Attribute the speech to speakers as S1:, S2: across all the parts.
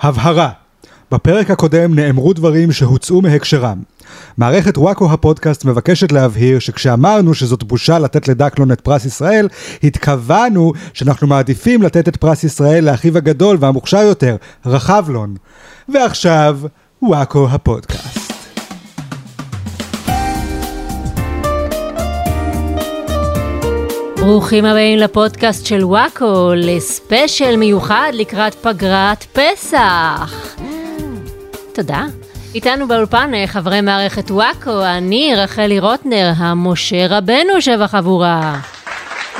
S1: הבהרה בפרק הקודם נאמרו דברים שהוצאו מהקשרם. מערכת וואקו הפודקאסט מבקשת להבהיר שכשאמרנו שזאת בושה לתת לדקלון את פרס ישראל, התכוונו שאנחנו מעדיפים לתת את פרס ישראל לאחיו הגדול והמוכשר יותר, רחבלון. ועכשיו, וואקו הפודקאסט.
S2: ברוכים הבאים לפודקאסט של וואקו, לספיישל מיוחד לקראת פגרת פסח. תודה. איתנו באולפן אה, חברי מערכת וואקו, אני רחלי רוטנר, המשה רבנו שבחבורה.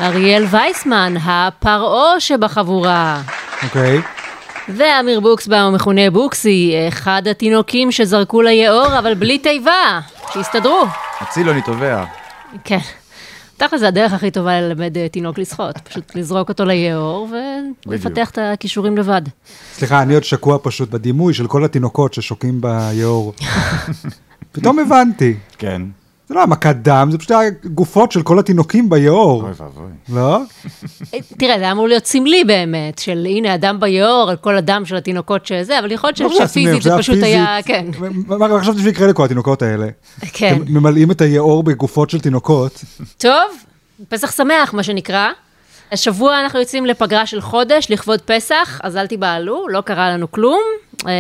S2: אריאל וייסמן, הפרעה שבחבורה.
S1: אוקיי.
S2: ואמיר בוקסבאום, המכונה בוקסי, אחד התינוקים שזרקו ליאור, אבל בלי תיבה. שיסתדרו.
S3: אציל אני תובע.
S2: כן. תכל'ס זה הדרך הכי טובה ללמד אה, תינוק לשחות, פשוט לזרוק אותו ליאור ולפתח את הכישורים לבד.
S1: סליחה, אני עוד שקוע פשוט בדימוי של כל התינוקות ששוקים ביאור. פתאום הבנתי.
S3: כן.
S1: זה לא המכת דם, זה פשוט הגופות של כל התינוקים ביאור.
S3: אוי ואבוי.
S1: לא?
S2: אה, תראה, זה אמור להיות סמלי באמת, של הנה הדם ביאור, על כל הדם של התינוקות שזה, אבל יכול
S1: לא
S2: להיות
S1: שזה עצמי,
S2: שפיזית זה
S1: היה
S2: פשוט היה, כן,
S1: פיזית. מה- מה חשבתי שיקרה לכל התינוקות האלה?
S2: כן.
S1: הם ממלאים את היאור בגופות של תינוקות.
S2: טוב, פסח שמח, מה שנקרא. השבוע אנחנו יוצאים לפגרה של חודש לכבוד פסח, אז אל תיבהלו, לא קרה לנו כלום. אה,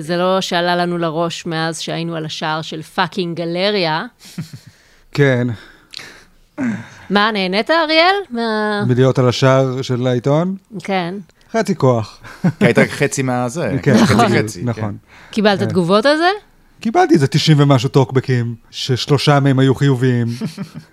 S2: זה לא שעלה לנו לראש מאז שהיינו על השער של פאקינג גלריה.
S1: כן,
S2: מה, נהנית, אריאל? מה...
S1: מלהיות על השער של העיתון.
S2: כן.
S1: חצי כוח.
S3: כי הייתה חצי מהזה.
S1: כן,
S3: חצי
S1: בדיוק,
S3: חצי.
S1: נכון.
S2: קיבלת
S3: כן.
S2: תגובות על זה?
S1: קיבלתי איזה 90 ומשהו טוקבקים, ששלושה מהם היו חיוביים.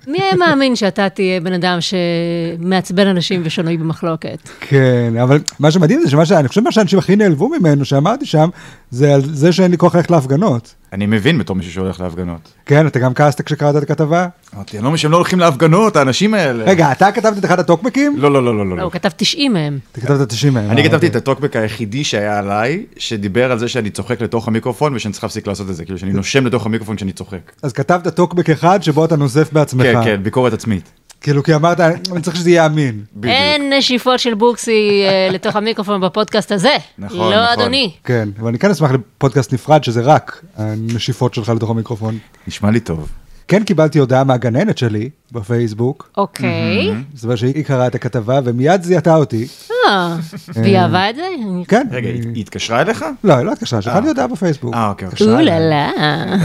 S2: מי היה מאמין שאתה תהיה בן אדם שמעצבן אנשים ושנוי במחלוקת?
S1: כן, אבל מה שמדהים זה שמה ש... אני חושב מה שאנשים הכי נעלבו ממנו, שאמרתי שם, זה על זה שאין לי כוח ללכת להפגנות.
S3: כן. אני מבין בתור מישהו שהולך להפגנות.
S1: כן, אתה גם כעסת כשקראת את הכתבה?
S3: אמרתי, אני לא מבין שהם לא הולכים להפגנות, האנשים האלה.
S1: רגע, אתה כתבת את אחד הטוקבקים?
S3: לא, לא, לא, לא,
S2: לא,
S3: לא.
S2: הוא כתב 90 מהם.
S1: אתה כתבת 90 מהם.
S3: אני
S1: אה,
S3: כתבתי את
S1: אוקיי.
S3: הטוקבק היחידי שהיה עליי, שדיבר על זה שאני צוחק לתוך המיקרופון ושאני צריך להפסיק לעשות את זה, כאילו שאני נושם לתוך המיקרופון כשאני צוחק.
S1: אז כתבת טוקבק אחד שבו אתה נוזף בעצמך.
S3: כן, כן, ביקורת עצמית. אה.
S1: כאילו, כי אמרת, אני צריך שזה יהיה אמין.
S3: בדיוק.
S2: אין נשיפות של בוקסי אה, לתוך המיקרופון בפודקאסט הזה.
S3: נכון,
S2: לא,
S3: נכון.
S2: אדוני.
S1: כן, אבל אני כן אשמח לפודקאסט נפרד, שזה רק הנשיפות שלך לתוך המיקרופון.
S3: נשמע לי טוב.
S1: כן קיבלתי הודעה מהגננת שלי בפייסבוק,
S2: אוקיי.
S1: מסתבר שהיא קראה את הכתבה ומיד זיהתה אותי.
S2: אה, והיא אהבה את זה?
S1: כן.
S3: רגע,
S1: היא-
S3: היא היא התקשרה אליך?
S1: לא, היא לא התקשרה, שלחה לי הודעה בפייסבוק.
S3: אה, אוקיי, אוקיי.
S2: אוללה.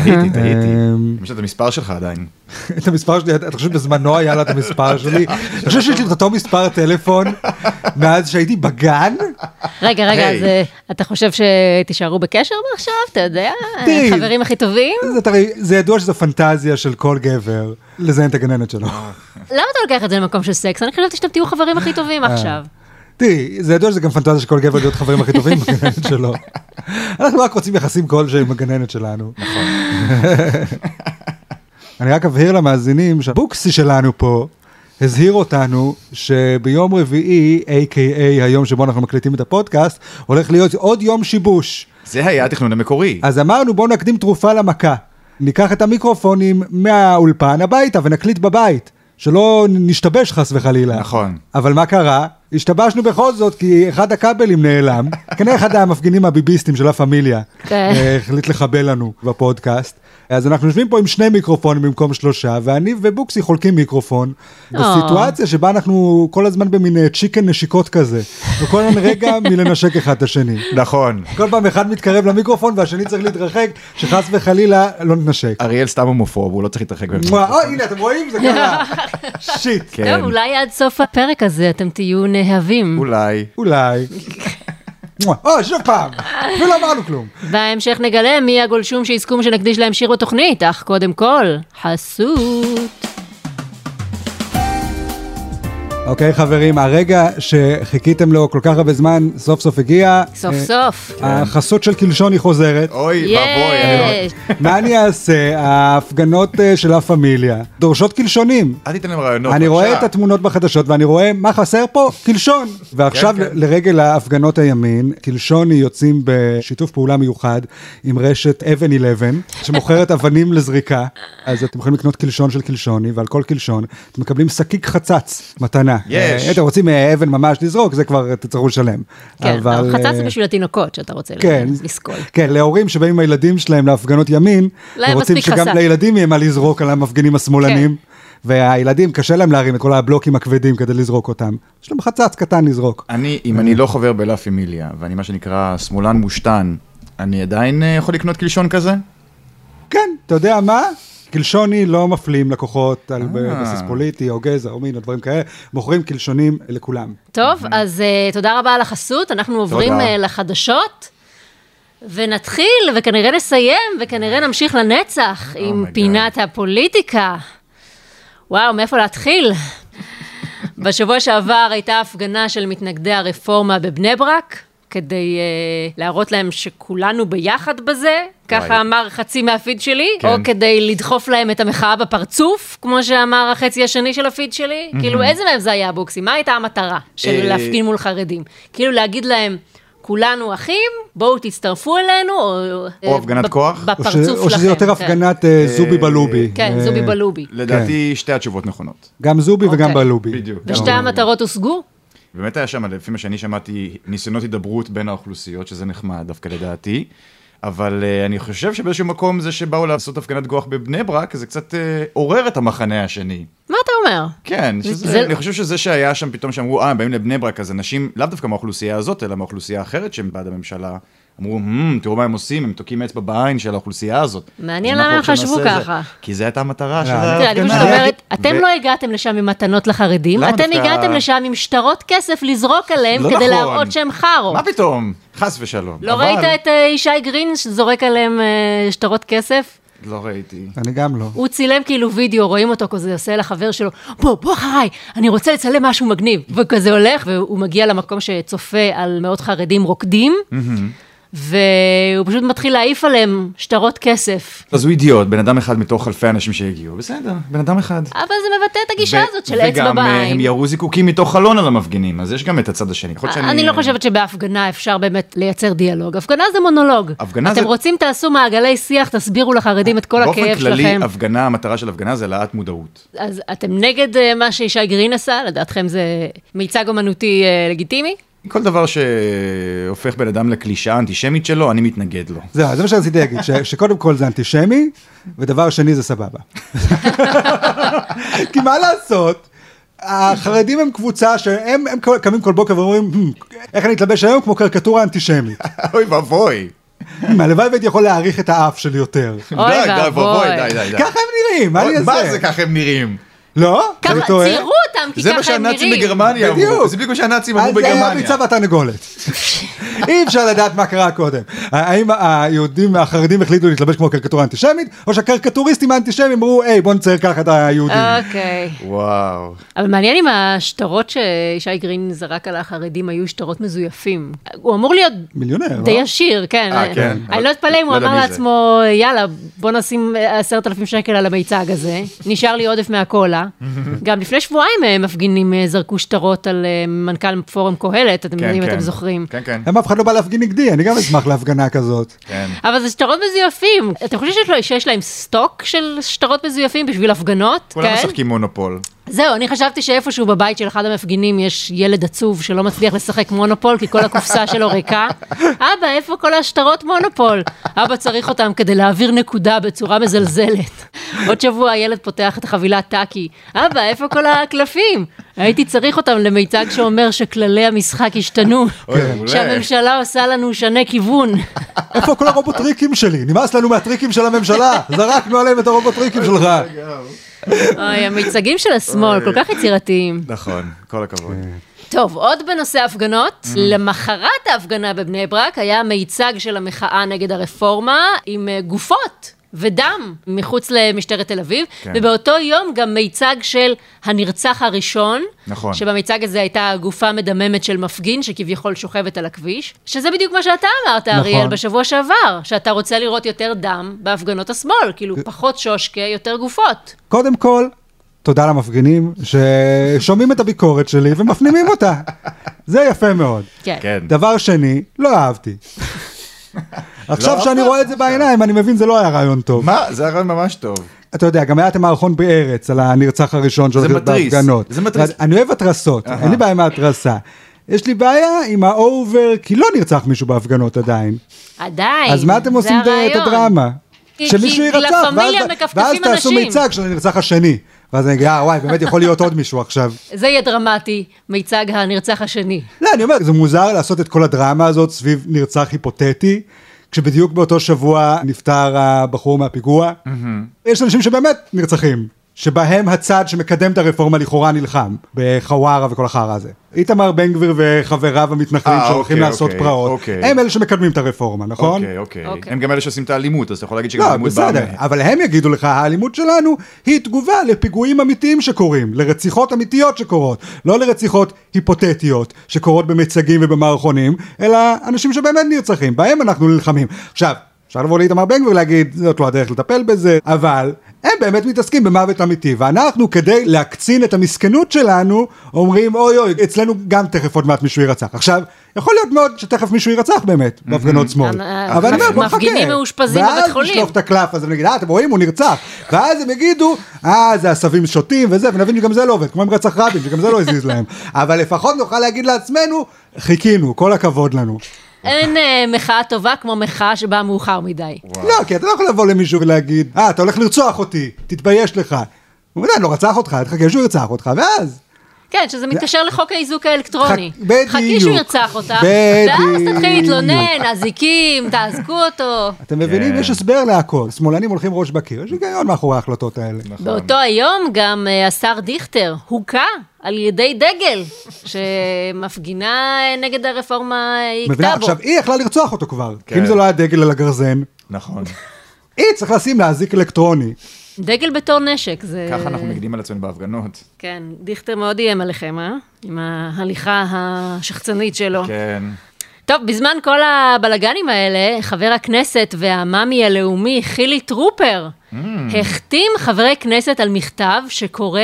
S3: טעיתי, טעיתי.
S1: אמ,
S3: יש לה את המספר שלך עדיין.
S1: את המספר שלי, אתה חושב שבזמנו היה לה את המספר שלי? אתה חושב שיש לי את אותו מספר טלפון מאז שהייתי בגן?
S2: רגע, רגע,
S3: היי.
S2: אז אה, אתה חושב שתישארו בקשר מעכשיו? אתה יודע?
S1: תראי.
S2: חברים הכי טובים?
S1: זה, אתה- זה ידוע שזו פנטזיה של כל גבר לזיין את הגננת שלו.
S3: אה,
S2: למה אתה לוקח את זה למקום של סקס? אני חשבתי שאתם תהיו חברים הכי
S3: אה,
S2: טובים עכשיו.
S1: תראי, זה ידוע שזה גם פנטזיה של כל גבר להיות חברים הכי טובים עם הגננת שלו. אנחנו רק רוצים יחסים כלשהם עם הגננת שלנו. נכון. אני רק אבהיר למאזינים שהבוקסי שלנו פה הזהיר אותנו שביום רביעי, A.K.A היום שבו אנחנו מקליטים את הפודקאסט, הולך להיות עוד יום שיבוש.
S3: זה היה התכנון המקורי.
S1: אז אמרנו בואו נקדים תרופה למכה. ניקח את המיקרופונים מהאולפן הביתה ונקליט בבית. שלא נשתבש חס וחלילה.
S3: נכון.
S1: אבל מה קרה? השתבשנו בכל זאת כי אחד הכבלים נעלם. כנראה אחד המפגינים הביביסטים של לה פמיליה.
S2: כן.
S1: אה, החליט לחבל לנו בפודקאסט. אז אנחנו יושבים פה עם שני מיקרופונים במקום שלושה, ואני ובוקסי חולקים מיקרופון.
S2: או.
S1: בסיטואציה שבה אנחנו כל הזמן במין אה, צ'יקן נשיקות כזה. וכל הזמן רגע מלנשק אחד את השני.
S3: נכון.
S1: כל פעם אחד מתקרב למיקרופון והשני צריך להתרחק, שחס וחלילה לא נתנשק.
S3: אריאל סתם הומופוב, הוא לא צריך להתרחק ממנו.
S1: או, הנה, אתם רואים? זה קרה. שיט.
S3: כן,
S2: טוב, לא, אולי עד סוף הפרק הזה אתם תהיו נאהבים.
S3: אולי.
S1: אולי. מואה, או, שוב פעם. ולא אמרנו כלום.
S2: בהמשך נגלה מי הגולשום שיזכום שנקדיש להם שיר בתוכנית, אך קודם כל, חסות.
S1: אוקיי, חברים, הרגע שחיכיתם לו כל כך הרבה זמן, סוף סוף הגיע.
S2: סוף
S1: אה,
S2: סוף.
S1: החסות של קלשון היא חוזרת.
S3: אוי ואבוי, לא- אריאל.
S2: יש.
S1: מה אני אעשה? ההפגנות אה, של לה פמיליה דורשות קלשונים.
S3: אל תיתן להם רעיונות.
S1: אני רואה
S3: בבקשה.
S1: את התמונות בחדשות ואני רואה מה חסר פה, קלשון. ועכשיו
S3: כן, כן.
S1: לרגל ההפגנות הימין, קלשוני יוצאים בשיתוף פעולה מיוחד עם רשת אבן 11, שמוכרת אבנים לזריקה. אז אתם יכולים לקנות קלשון של קלשוני, ועל כל קלשון אתם מקבלים שקיק חצץ מתנה. קטנה.
S3: יש.
S1: אה, אתם רוצים אה, אבן ממש לזרוק, זה כבר אה, תצטרכו לשלם.
S2: כן,
S1: אבל,
S2: חצץ זה
S1: אה,
S2: בשביל התינוקות שאתה רוצה
S1: כן.
S2: לסקול.
S1: כן, להורים שבאים עם הילדים שלהם להפגנות ימין,
S2: להם
S1: ורוצים
S2: מספיק כן.
S1: שגם
S2: חסך.
S1: לילדים יהיה מה לזרוק על המפגינים השמאלנים, והילדים קשה להם להרים את כל הבלוקים הכבדים כדי לזרוק אותם. יש להם חצץ קטן לזרוק.
S3: אני, אם אני לא חבר בלה פמיליה, ואני מה שנקרא שמאלן מושתן, אני עדיין אה, יכול לקנות קלשון כזה?
S1: כן, אתה יודע מה? קלשוני לא מפלים לקוחות על
S3: אה.
S1: בסיס פוליטי, או גזע, או מין, או דברים כאלה, מוכרים קלשונים לכולם.
S2: טוב, אז אה, תודה רבה על החסות, אנחנו עוברים אה, לחדשות, ונתחיל, וכנראה נסיים, וכנראה נמשיך לנצח עם
S3: Oh my God.
S2: פינת הפוליטיקה. וואו, מאיפה להתחיל? בשבוע שעבר הייתה הפגנה של מתנגדי הרפורמה בבני ברק, כדי אה, להראות להם שכולנו ביחד בזה, ככה אמר חצי מהפיד שלי,
S3: כן.
S2: או כדי לדחוף להם את המחאה בפרצוף, כמו שאמר החצי השני של הפיד שלי. כאילו, איזה מהם זה היה הבוקסי? מה הייתה המטרה של
S3: אה,
S2: להפגין מול חרדים? כאילו, להגיד להם... כולנו אחים, בואו תצטרפו אלינו, או...
S3: או
S2: אה,
S3: הפגנת
S2: ב-
S3: כוח. או
S1: או, ש...
S2: בפרצוף
S1: או שזה
S2: שלכם,
S1: יותר
S2: כן.
S1: הפגנת אה, זובי בלובי.
S2: כן,
S1: אה,
S2: זובי בלובי.
S1: כן.
S3: לדעתי, שתי התשובות נכונות.
S1: גם זובי וגם
S2: אוקיי.
S1: בלובי. אה,
S3: בדיוק.
S2: ושתי המטרות הושגו?
S3: באמת היה שם, לפי מה שאני שמעתי, ניסיונות הידברות בין האוכלוסיות, שזה נחמד דווקא לדעתי, אבל uh, אני חושב שבאיזשהו מקום זה שבאו לעשות הפגנת גוח בבני ברק, זה קצת uh, עורר את המחנה השני.
S2: מה אתה אומר?
S3: כן, שזה,
S2: זה-
S3: זה... אני חושב שזה שהיה שם פתאום שאמרו, אה, הם באים לבני ברק, אז אנשים, לאו דווקא מהאוכלוסייה הזאת, אלא מהאוכלוסייה האחרת שהם בעד הממשלה, אמרו, "מ, תראו מה הם עושים, הם תוקעים אצבע בעין של האוכלוסייה הזאת.
S2: מעניין
S3: אז אנחנו
S2: למה הם
S3: עכשיו
S2: חשבו
S3: נעשה את זה."
S2: ככה.
S3: כי זו הייתה המטרה של
S1: לא,
S2: כן. תראה, אני
S3: ההפגנה.
S2: פשוט אומרת, אתם
S3: ו-
S2: לא הגעתם לשם עם מתנות לחרדים,
S3: למה
S2: אתם
S3: דווקא-
S2: הגעתם לשם עם שטרות כסף לזרוק עליהם
S3: לא
S2: כדי
S3: נכון.
S2: להראות שהם חארו.
S3: מה פתאום? חס ושלום.
S2: לא
S3: אבל-
S2: ראית את אה, ישי גרין שזורק עליהם אה, שטרות כסף?
S3: לא ראיתי.
S1: אני גם לא.
S2: הוא צילם כאילו וידאו, רואים אותו כזה עושה לחבר שלו, בוא, בוא אחריי, אני רוצה לצלם משהו מגניב. וכזה הולך, והוא מגיע למקום שצופה על מאות חרדים רוקדים, והוא פשוט מתחיל להעיף עליהם שטרות כסף.
S3: אז הוא אידיוט, בן אדם אחד מתוך אלפי אנשים שהגיעו, בסדר, בן אדם אחד.
S2: אבל זה מבטא את הגישה
S3: ו-
S2: הזאת של אצבע
S3: וגם אה, הם
S2: בעין.
S3: ירו זיקוקים מתוך חלון על המפגינים, אז יש גם את הצד השני. יכול להיות שאני-
S2: אני לא חושבת שבהפגנה אפשר באמת לייצר דיאלוג. הפגנה זה מונולוג.
S3: הפגנה
S2: אתם
S3: זה-
S2: רוצים, תעשו מעגלי שיח, תסבירו לחרדים את כל הכאב
S3: אה, באופן
S2: שלכם.
S3: כללי, הפגנה, המטרה של הפגנה זה העלאת מודעות.
S2: אז אתם נגד אה, מה שישי גרין עשה? לדעתכם זה מיצג אומנותי אה, לגיטימי?
S3: כל דבר שהופך בן אדם לקלישאה האנטישמית שלו, אני מתנגד לו.
S1: זהו, זה מה שרציתי להגיד, ש- שקודם כל זה אנטישמי, ודבר שני זה סבבה. כי מה לעשות, החרדים הם קבוצה שהם הם כל- קמים כל בוקר ואומרים, "הם, איך אני אתלבש היום כמו קריקטורה אנטישמית.
S3: אוי ואבוי.
S1: "הם, הלוואי והייתי יכול להעריך את האף שלי יותר.
S2: אוי
S3: די, די,
S2: ואבוי.
S3: די, די, די.
S1: ככה הם נראים, מה אני
S3: אוי,
S1: אעשה?
S3: מה זה ככה הם נראים?
S1: לא?
S2: ככה
S1: אני טועה?
S2: ציירו אותם, כי
S3: זה מה
S2: ככה הם
S3: שהנאצים
S2: נראים.
S3: בגרמניה אמרו.
S1: בדיוק.
S3: זה בדיוק מה שהנאצים אמרו
S1: אז זה היה ביצה
S3: בגרמניה.
S1: והתרנגולת. אי אפשר לדעת מה קרה קודם. האם היהודים החרדים החליטו להתלבש כמו קריקטורה אנטישמית, או שהקריקטוריסטים האנטישמים אמרו, היי, בוא נצייר ככה את היהודים.
S2: אוקיי.
S3: וואו.
S2: אבל מעניין אם השטרות שישי גרין זרק על החרדים היו שטרות מזויפים. הוא אמור להיות
S1: מיליונר,
S2: די
S1: לא?
S2: עשיר, כן.
S3: אה, כן.
S2: אני לא אתפלא אם הוא
S3: לא יודע
S2: אמר
S3: מי זה.
S2: לעצמו, יאללה, בוא נשים אה, עשרת אלפים שקל על המיצג הזה, נשאר לי עודף מהקולה. גם לפני שבועיים אה, מפגינים אה, זרקו שטרות על אה, מנכ"ל פורום קהלת, אתם
S3: כן,
S2: יודעים,
S3: כן.
S2: אתם זוכרים.
S3: כן, כן.
S1: למה אף אחד לא בא להפגין נגדי? אני גם אשמח להפגנה כזאת.
S3: כן.
S2: אבל זה שטרות מזויפים. אתם חושבים שיש לו- שיש להם סטוק של שטרות מזויפים בשביל הפגנות?
S3: כולם
S2: כן?
S3: משחקים מונופול.
S2: זהו, אני חשבתי שאיפשהו בבית של אחד המפגינים יש ילד עצוב שלא מצליח לשחק מונופול כי כל הקופסה שלו ריקה. אבא, איפה כל השטרות מונופול? אבא צריך אותם כדי להעביר נקודה בצורה מזלזלת. עוד שבוע הילד פותח את חבילת טאקי. אבא, איפה כל הקלפים? הייתי צריך אותם למיצג שאומר שכללי המשחק השתנו.
S3: אוי, מעולה.
S2: שהממשלה עושה לנו שנה כיוון.
S1: איפה כל הרובוטריקים שלי? נמאס לנו מהטריקים של הממשלה, זרקנו עליהם את הרובוטריקים שלך.
S2: אוי, המיצגים של השמאל כל כך יצירתיים.
S3: נכון, כל הכבוד.
S2: טוב, עוד בנושא הפגנות,
S3: Mm-hmm.
S2: למחרת ההפגנה בבני ברק היה מיצג של המחאה נגד הרפורמה עם אה, גופות ודם מחוץ למשטרת תל אביב,
S3: כן.
S2: ובאותו יום גם מיצג של הנרצח הראשון,
S3: נכון.
S2: שבמיצג הזה הייתה גופה מדממת של מפגין שכביכול שוכבת על הכביש, שזה בדיוק מה שאתה אמרת,
S3: נכון.
S2: אריאל, בשבוע שעבר, שאתה רוצה לראות יותר דם בהפגנות השמאל, כאילו פחות שושקה, יותר גופות.
S1: קודם כל, תודה למפגינים ששומעים את הביקורת שלי ומפנימים אותה. זה יפה מאוד.
S2: כן.
S3: כן.
S1: דבר שני, לא אהבתי. עכשיו
S3: לא
S1: שאני
S3: אהבת?
S1: רואה את זה בעיניים, אני מבין זה לא היה רעיון טוב.
S3: מה? זה היה רעיון ממש טוב.
S1: אתה יודע, גם היה את המערכון בארץ על הנרצח הראשון שהולך להיות
S3: מתריס,
S1: בהפגנות.
S3: זה מתריס.
S1: אז אני אוהב התרסות, אין לי בעיה עם ההתרסה. יש לי בעיה עם האובר, כי לא נרצח מישהו בהפגנות עדיין.
S2: עדיין,
S1: אז מה אתם
S2: זה
S1: עושים את- את
S2: הרעיון.
S1: הדרמה?
S2: כי-
S1: שמישהו
S2: כי
S1: יירצח,
S2: לה
S1: ואז-
S2: פמיליה מכפכפים
S1: ואז תעשו
S2: אנשים.
S1: מיצג של הנרצח השני. ואז אני אגיד, אה, וואי, באמת יכול להיות עוד מישהו עכשיו.
S2: זה יהיה דרמטי, מיצג הנרצח השני.
S1: לא, אני אומר, זה מוזר לעשות את כל הדרמה הזאת סביב נרצח היפותטי, כשבדיוק באותו שבוע נפטר הבחור מהפיגוע. יש אנשים שבאמת נרצחים, שבהם הצד שמקדם את הרפורמה לכאורה נלחם, בחווארה וכל החרא הזה. איתמר בן גביר וחבריו המתנחלים
S3: אה,
S1: שהולכים
S3: אוקיי,
S1: לעשות
S3: אוקיי,
S1: פרעות,
S3: אוקיי.
S1: הם אלה שמקדמים את הרפורמה, נכון?
S3: אוקיי, אוקיי.
S2: אוקיי.
S3: הם גם אלה שעושים את האלימות, אז אתה יכול להגיד שגם
S1: לא,
S3: האלימות באה...
S1: בסדר,
S3: מהם.
S1: אבל הם יגידו לך, האלימות שלנו היא תגובה לפיגועים אמיתיים שקורים, לרציחות אמיתיות שקורות, לא לרציחות היפותטיות שקורות במיצגים ובמערכונים, אלא אנשים שבאמת נרצחים, בהם אנחנו נלחמים. עכשיו, אפשר לבוא לאיתמר בן גביר ולהגיד, זאת לא הדרך לטפל בזה, אבל הם באמת מתעסקים במוות אמיתי, ואנחנו כדי להקצין את המסכנות שלנו, אומרים אוי אוי, אצלנו גם תכף עוד מעט מישהו יירצח. עכשיו, יכול להיות מאוד שתכף מישהו יירצח באמת,
S3: Mm-hmm.
S1: בהפגנות שמאל.
S2: אה,
S1: נכון. אבל אני אומר, בוא נחכה.
S2: מפגינים מאושפזים בבית
S1: ואז
S2: חולים.
S1: נשלוף את הקלף, אז אני אגיד, אה, אתם רואים, הוא נרצח. ואז הם יגידו, אה, זה עשבים שוטים וזה, ונבין שגם זה לא עובד, כמו עם רצח רבין, שגם זה לא הזיז להם. אבל לפחות נוכל להגיד לעצמנו, חיכינו, כל הכבוד לנו.
S2: אין אה, מחאה טובה כמו מחאה שבאה מאוחר מדי.
S1: לא, כי אתה לא יכול לבוא למישהו ולהגיד, אה, אתה הולך לרצוח אותי, תתבייש לך. הוא עדיין לא רצח אותך, תחכה שהוא ירצח אותך, ואז.
S2: כן, שזה מתקשר לחוק האיזוק האלקטרוני.
S1: חכ- בדיוק.
S2: חכי שהוא ירצח אותך, ואז
S1: בדיוק.
S2: תתחיל להתלונן, אזיקים, תעזקו אותו.
S1: אתם מבינים?
S3: כן.
S1: יש הסבר להכל. שמאלנים הולכים ראש בקיר, יש היגיון מאחורי ההחלטות האלה.
S3: נכון.
S2: באותו היום גם אה, השר דיכטר הוכה על ידי דגל שמפגינה אה, נגד הרפורמה אה,
S1: מבינה?
S2: הכתה בו.
S1: עכשיו, היא יכלה לרצוח אותו כבר. כי אם
S3: כן.
S1: זה לא היה דגל על הגרזן,
S3: נכון.
S1: היא צריך לשים לה אזיק אלקטרוני.
S2: דגל בתור נשק, זה...
S3: ככה אנחנו מגנים על עצמנו בהפגנות.
S2: כן, דיכטר מאוד איים עליכם, אה? עם ההליכה השחצנית שלו.
S3: כן.
S2: טוב, בזמן כל הבלגנים האלה, חבר הכנסת והמאמי הלאומי חילי טרופר החתים חברי כנסת על מכתב שקורא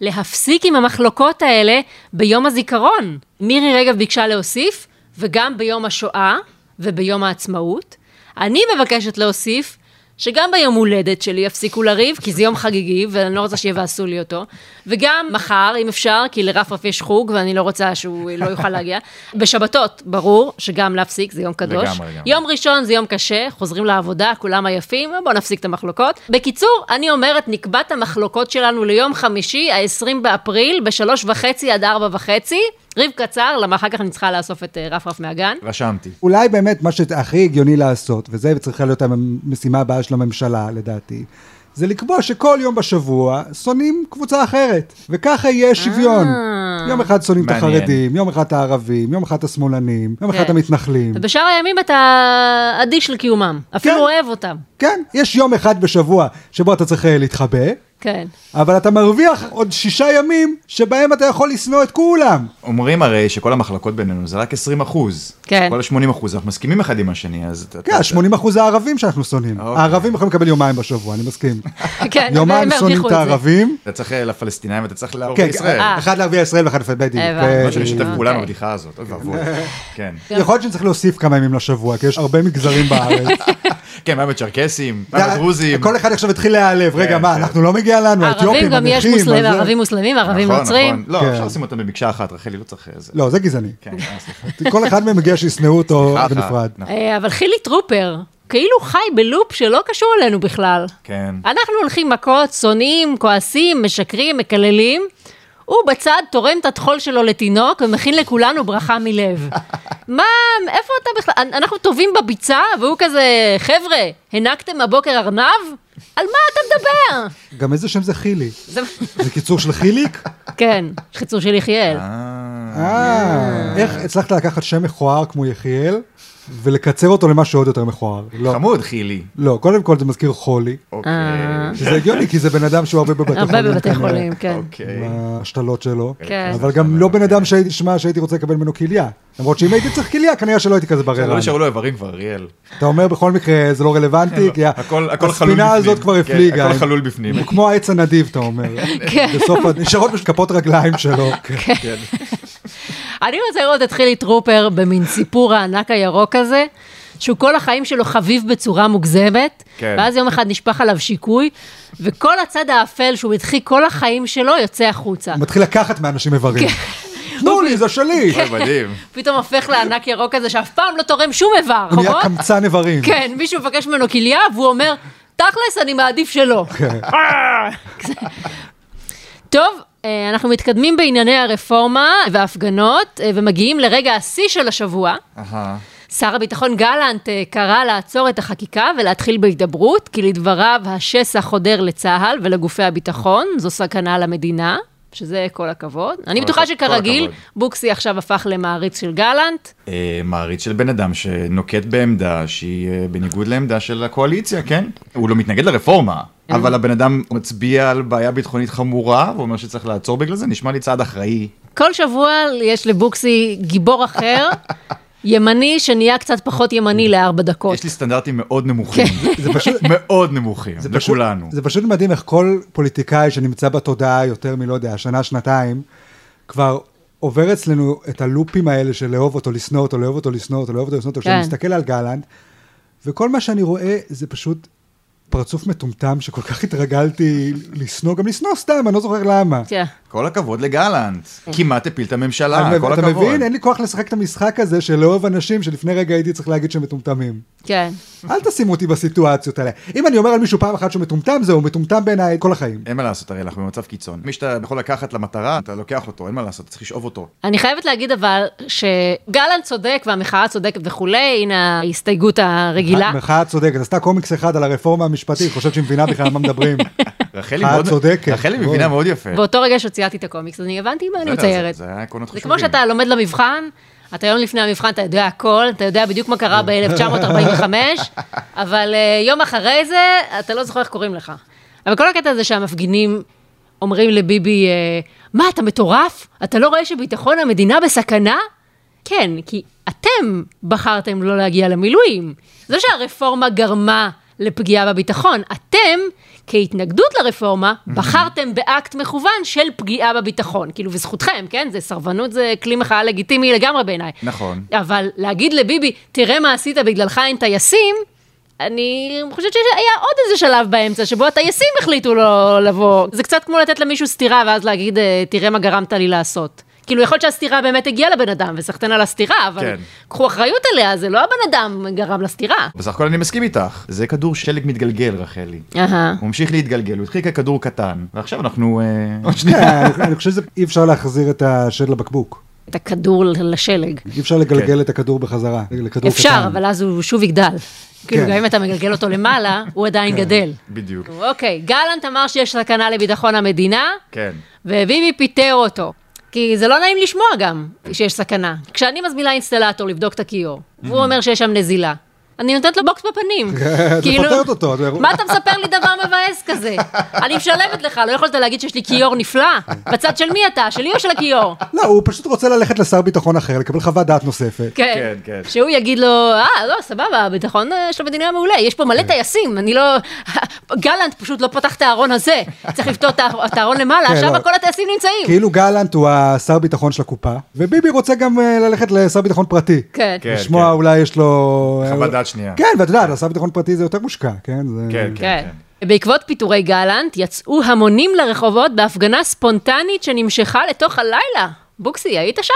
S2: להפסיק עם המחלוקות האלה ביום הזיכרון. מירי רגב ביקשה להוסיף, וגם ביום השואה וביום העצמאות. אני מבקשת להוסיף שגם ביום הולדת שלי יפסיקו לריב, כי זה יום חגיגי, ואני לא רוצה שיבאסו לי אותו. וגם מחר, אם אפשר, כי לרפרף יש חוג, ואני לא רוצה שהוא לא יוכל להגיע. בשבתות, ברור, שגם להפסיק, זה יום קדוש.
S3: לגמרי, לגמרי.
S2: יום ראשון זה יום קשה, חוזרים לעבודה, כולם עייפים, בואו נפסיק את המחלוקות. בקיצור, אני אומרת, נקבע את המחלוקות שלנו ליום חמישי, ה-20 באפריל, בשלוש וחצי עד ארבע וחצי. ריב קצר, למה אחר כך אני צריכה לאסוף את אה, רפרף מהגן.
S3: רשמתי.
S1: אולי באמת מה שהכי הגיוני לעשות, וזה צריכה להיות המשימה הבאה של הממשלה לדעתי, זה לקבוע שכל יום בשבוע שונאים קבוצה אחרת, וככה יהיה שוויון.
S2: אה.
S1: יום אחד שונאים את
S3: מעניין.
S1: החרדים, יום אחד את הערבים, יום אחד את השמאלנים, יום אחד את
S2: כן.
S1: המתנחלים.
S2: ובשאר הימים אתה אדיש לקיומם, אפילו
S1: כן.
S2: אוהב אותם.
S1: כן, יש יום אחד בשבוע שבו אתה צריך אה, להתחבא,
S2: כן.
S1: אבל אתה מרוויח עוד שישה ימים שבהם אתה יכול לשנוא את כולם.
S3: אומרים הרי שכל המחלקות בינינו זה רק 20 אחוז.
S2: כן.
S3: כל ה-80 אחוז, אנחנו מסכימים אחד עם השני, אז... אתה-
S1: כן,
S3: אתה-
S1: 80% זה הערבים שאנחנו שונאים.
S3: אוקיי.
S1: הערבים יכולים לקבל יומיים בשבוע, אני מסכים.
S2: כן,
S1: יומיים
S2: הם הרוויחו
S1: שונאים את
S2: זה.
S1: הערבים.
S3: אתה צריך אה, לפלסטינאים, אתה צריך לערוב
S1: כן,
S3: לישראל.
S2: אה.
S1: אחד לערביי ישראל ואחד לפי בדיוק.
S2: הבנתי.
S1: כן,
S3: לא שנשתף
S2: אוקיי.
S3: כולנו בבדיחה הזאת, אוי ואבוי. כן.
S1: יכול להיות שצריך להוסיף כמה ימים לשבוע, כי יש הרבה מגזרים בארץ.
S3: כן, מה עם הצ'רקסים? מה עם הדרוזים?
S1: אה, כל אחד עכשיו התחיל להיעלב, רגע,
S3: כן,
S1: מה,
S3: כן.
S1: אנחנו לא מגיע לנו,
S2: ערבים
S1: האתיופים,
S2: גם יש
S1: הנכים,
S2: מוסלמים,
S1: הזה.
S2: ערבים מוסלמים, ערבים
S3: נכון,
S2: נוצרים.
S3: נכון. לא,
S1: כן.
S3: אפשר לשים אותם במקשה אחת, רחלי, לא צריך איזה...
S1: לא, זה גזעני.
S3: כן, אה, סליחה.
S1: כל אחד מהם מגיע שישנאו אותו
S3: ככה.
S1: בנפרד.
S3: נכון.
S2: אה, אבל חילי טרופר, כאילו חי בלופ שלא קשור אלינו בכלל.
S3: כן.
S2: אנחנו הולכים מכות, שונאים, כועסים, משקרים, מקללים. הוא בצד תורם את הטחול שלו לתינוק ומכין לכולנו ברכה מלב. מה, איפה אתה בכלל? אנ- אנחנו טובים בביצה, והוא כזה, חבר'ה, הנקתם הבוקר ארנב? על מה אתה מדבר?
S3: נכון.
S1: גם איזה שם זה חילי.
S2: זה...
S1: זה קיצור של חיליק?
S2: כן, חיצור של יחיאל.
S3: אה,
S1: אה, איך הצלחת לקחת שם מכוער כמו יחיאל, ולקצר אותו למשהו עוד יותר מכוער? לא.
S3: חמוד, חילי.
S2: אה.
S1: לא, קודם כל זה מזכיר חולי,
S3: אוקיי.
S1: שזה הגיוני, כי זה בן אדם שהוא הרבה בבתי חולים.
S2: הרבה בבתי
S1: כנראה.
S2: חולים, כן.
S3: אוקיי.
S1: עם ההשתלות שלו,
S2: כן.
S1: אבל גם לא בן אדם שהייתי, שמע, שהייתי רוצה לקבל ממנו כליה. למרות שאם הייתי צריך כליה, כנראה שלא הייתי כזה
S3: לא
S1: בררן.
S3: נשארו לו איברים כבר, אריאל.
S1: אתה אומר בכל מקרה, זה לא רלוונטי, כי
S3: כן, הכל הכל חלול בפנים.
S1: הספינה הזאת כבר
S3: כן,
S1: הפליגה.
S3: הכל חלול בפנים.
S1: הוא כמו העץ הנדיב, אתה אומר.
S2: כן.
S1: בסוף, ה- נשארות משקפות רגליים שלו.
S2: אני רוצה לראות את חילי טרופר במין סיפור הענק הירוק הזה, שהוא כל החיים שלו חביב בצורה מוגזמת,
S3: כן.
S2: ואז יום אחד נשפך עליו שיקוי, וכל הצד האפל שהוא הדחיק כל החיים שלו יוצא החוצה.
S1: הוא מתחיל לקחת מאנשים איברים.
S2: כן.
S1: תנו לי, זה שלי!
S3: אוי, מדהים.
S2: פתאום הופך לענק ירוק הזה שאף פעם לא תורם שום איבר,
S1: הוא נהיה
S2: נכון?
S1: קמצן איברים.
S2: כן, מישהו מבקש ממנו כליה, והוא אומר, תכלס, אני מעדיף שלא. טוב, אה, אנחנו מתקדמים בענייני הרפורמה וההפגנות, אה, ומגיעים לרגע השיא של השבוע.
S3: אהה.
S2: שר הביטחון גלנט אה, קרא לעצור את החקיקה ולהתחיל בהידברות, כי לדבריו השסע חודר לצה"ל ולגופי הביטחון, זו סכנה למדינה, שזה כל הכבוד. אני
S3: כל
S2: בטוחה
S3: הכ- כל
S2: שכרגיל,
S3: הכבוד.
S2: בוקסי עכשיו הפך למעריץ של גלנט.
S3: אה, מעריץ של בן אדם שנוקט בעמדה שהיא אה, בניגוד לעמדה של הקואליציה, כן? הוא לא מתנגד לרפורמה,
S1: כן.
S3: אבל הבן אדם מצביע על בעיה ביטחונית חמורה, ואומר שצריך לעצור בגלל זה, נשמע לי צעד אחראי.
S2: כל שבוע יש לבוקסי גיבור אחר, ימני, שנהיה קצת פחות ימני לארבע דקות.
S3: יש לי סטנדרטים מאוד נמוכים,
S1: זה פשוט...
S3: מאוד נמוכים,
S1: כן. זה פשוט-
S3: לכולנו.
S1: זה פשוט מדהים איך כל פוליטיקאי שנמצא בתודעה יותר מלא יודע, שנה, שנתיים, כבר עובר אצלנו את הלופים האלה של לאהוב אותו, לשנוא אותו, לאהוב אותו, לשנוא אותו, לאהוב אותו, לשנוא אותו, כשאני
S2: כן.
S1: מסתכל על גלנט, וכל מה שאני רואה זה פשוט פרצוף מטומטם שכל כך התרגלתי לשנוא, גם לשנוא סתם, אני לא זוכר למה.
S2: תראה,
S3: כל הכבוד לגלנט, כמעט הפיל את הממשלה,
S1: אני-
S3: אה, כל
S1: כן. אתה
S3: הכבוד.
S1: מבין? אין לי כוח לשחק את המשחק הזה של לאהוב אנשים שלפני רגע הייתי צריך להגיד שהם מטומטמים.
S2: כן.
S1: אל תשימו אותי בסיטואציות האלה. אם אני אומר על מישהו פעם אחת שהוא מטומטם, זהו, הוא מטומטם בעיניי כל החיים.
S3: אין מה לעשות, הרי אנחנו במצב קיצון. מי שאתה יכול לקחת למטרה, אתה לוקח אותו, אין מה לעשות, צריך לשאוב אותו.
S2: אני חייבת להגיד אבל שגלנט צודק והמחאה צודקת וכולי, הנה ההסתייגות הרגילה.
S1: מחאה צודקת, עשתה קומיקס אחד על הרפורמה המשפטית, חושבת שהיא מבינה בכלל על מה מדברים.
S3: רחלי
S1: את
S3: מאוד-
S1: אה, צודקת.
S3: רחלי
S1: בואי.
S3: מבינה מאוד יפה.
S2: באותו רגע שציינתי את הקומיקס, אז אני הבנתי מה אני
S3: בסדר, זה-
S2: מציירת.
S3: זה היה עקרונות
S2: זה
S3: חשובים.
S2: כמו שאתה לומד למבחן, אתה יום לפני המבחן, אתה יודע הכל, אתה יודע בדיוק מה קרה ב-1945, אבל אה, יום אחרי זה, אתה לא זוכר איך קוראים לך. אבל כל הקטע הזה שהמפגינים אומרים לביבי, אה, מה, אתה מטורף? אתה לא רואה שביטחון המדינה בסכנה? כן, כי אתם בחרתם לא להגיע למילואים. זה לא שהרפורמה גרמה לפגיעה בביטחון, אתם, כהתנגדות לרפורמה, בחרתם באקט מכוון של פגיעה בביטחון. כאילו, וזכותכם, כן? זה סרבנות, זה כלי מחאה לגיטימי לגמרי בעיניי.
S3: נכון.
S2: אבל להגיד לביבי, תראה מה עשית בגללך אין טייסים, אני חושבת שהיה עוד איזה שלב באמצע שבו הטייסים החליטו לא לבוא. זה קצת כמו לתת למישהו סטירה ואז להגיד, "אה, תראה מה גרמת לי לעשות. כאילו, יכול להיות שהסטירה באמת הגיעה לבן אדם, וסחטיין על הסטירה, אבל
S3: כן.
S2: קחו אחריות עליה, זה לא הבן אדם גרם לסטירה.
S3: בסך הכל אני מסכים איתך. זה כדור שלג מתגלגל, רחלי.
S2: אהה.
S3: הוא המשיך להתגלגל, הוא התחיל ככדור קטן, ועכשיו אנחנו... אה, עוד
S1: כן,
S3: שנייה.
S1: אני- אני חושב שאי אפשר להחזיר את השד לבקבוק.
S2: את הכדור לשלג.
S1: אי אפשר
S3: כן.
S1: לגלגל את הכדור בחזרה, לכדור
S2: אפשר,
S1: קטן.
S2: אבל אז הוא שוב יגדל. כאילו,
S1: כן.
S2: גם אם אתה מגלגל אותו למעלה, הוא עדיין גדל.
S3: בדיוק.
S2: אוקיי, גלנט אמר שיש סכנה לביטחון המדינה,
S3: כן.
S2: וביבי פיטר אותו. כי זה לא נעים לשמוע גם שיש סכנה. כשאני מזמינה אינסטלטור לבדוק את הכיור, והוא אומר שיש שם נזילה, אני נותנת לו בוקס בפנים.
S1: כן,
S2: כאילו,
S1: את פוטרת אותו, את-
S2: מה אתה מספר לי דבר מבאס כזה? אני משלמת לך, לא יכולת להגיד שיש לי כיור נפלא? בצד של מי אתה? שלי או של הכיור?
S1: לא, הוא פשוט רוצה ללכת לשר ביטחון אחר, לקבל חוות דעת נוספת.
S2: כן,
S3: כן.
S2: שהוא יגיד לו, אה, לא, סבבה, הביטחון אה, של המדינה מעולה, יש פה מלא טייסים, אני לא... גלנט פשוט לא פתח את הארון הזה, צריך לפתור את האר- את הארון למעלה,
S1: כן,
S2: שם
S1: לא.
S2: כל הטייסים נמצאים.
S1: כאילו גלנט הוא השר ביטחון של הקופה, וביבי רוצה גם אה, ללכת לשר ביטחון פרטי.
S2: כן.
S3: כן,
S1: לשמוע
S3: כן.
S1: אולי יש לו...
S3: חוות דעת שנייה.
S1: כן, ואת יודעת, השר ביטחון פרטי זה יותר מושקע, כן? זה-
S3: כן,
S2: כן. בעקבות פיטורי גלנט, יצאו המונים לרחובות בהפגנה ספונטנית שנמשכה לתוך הלילה. בוקסי, היית שם?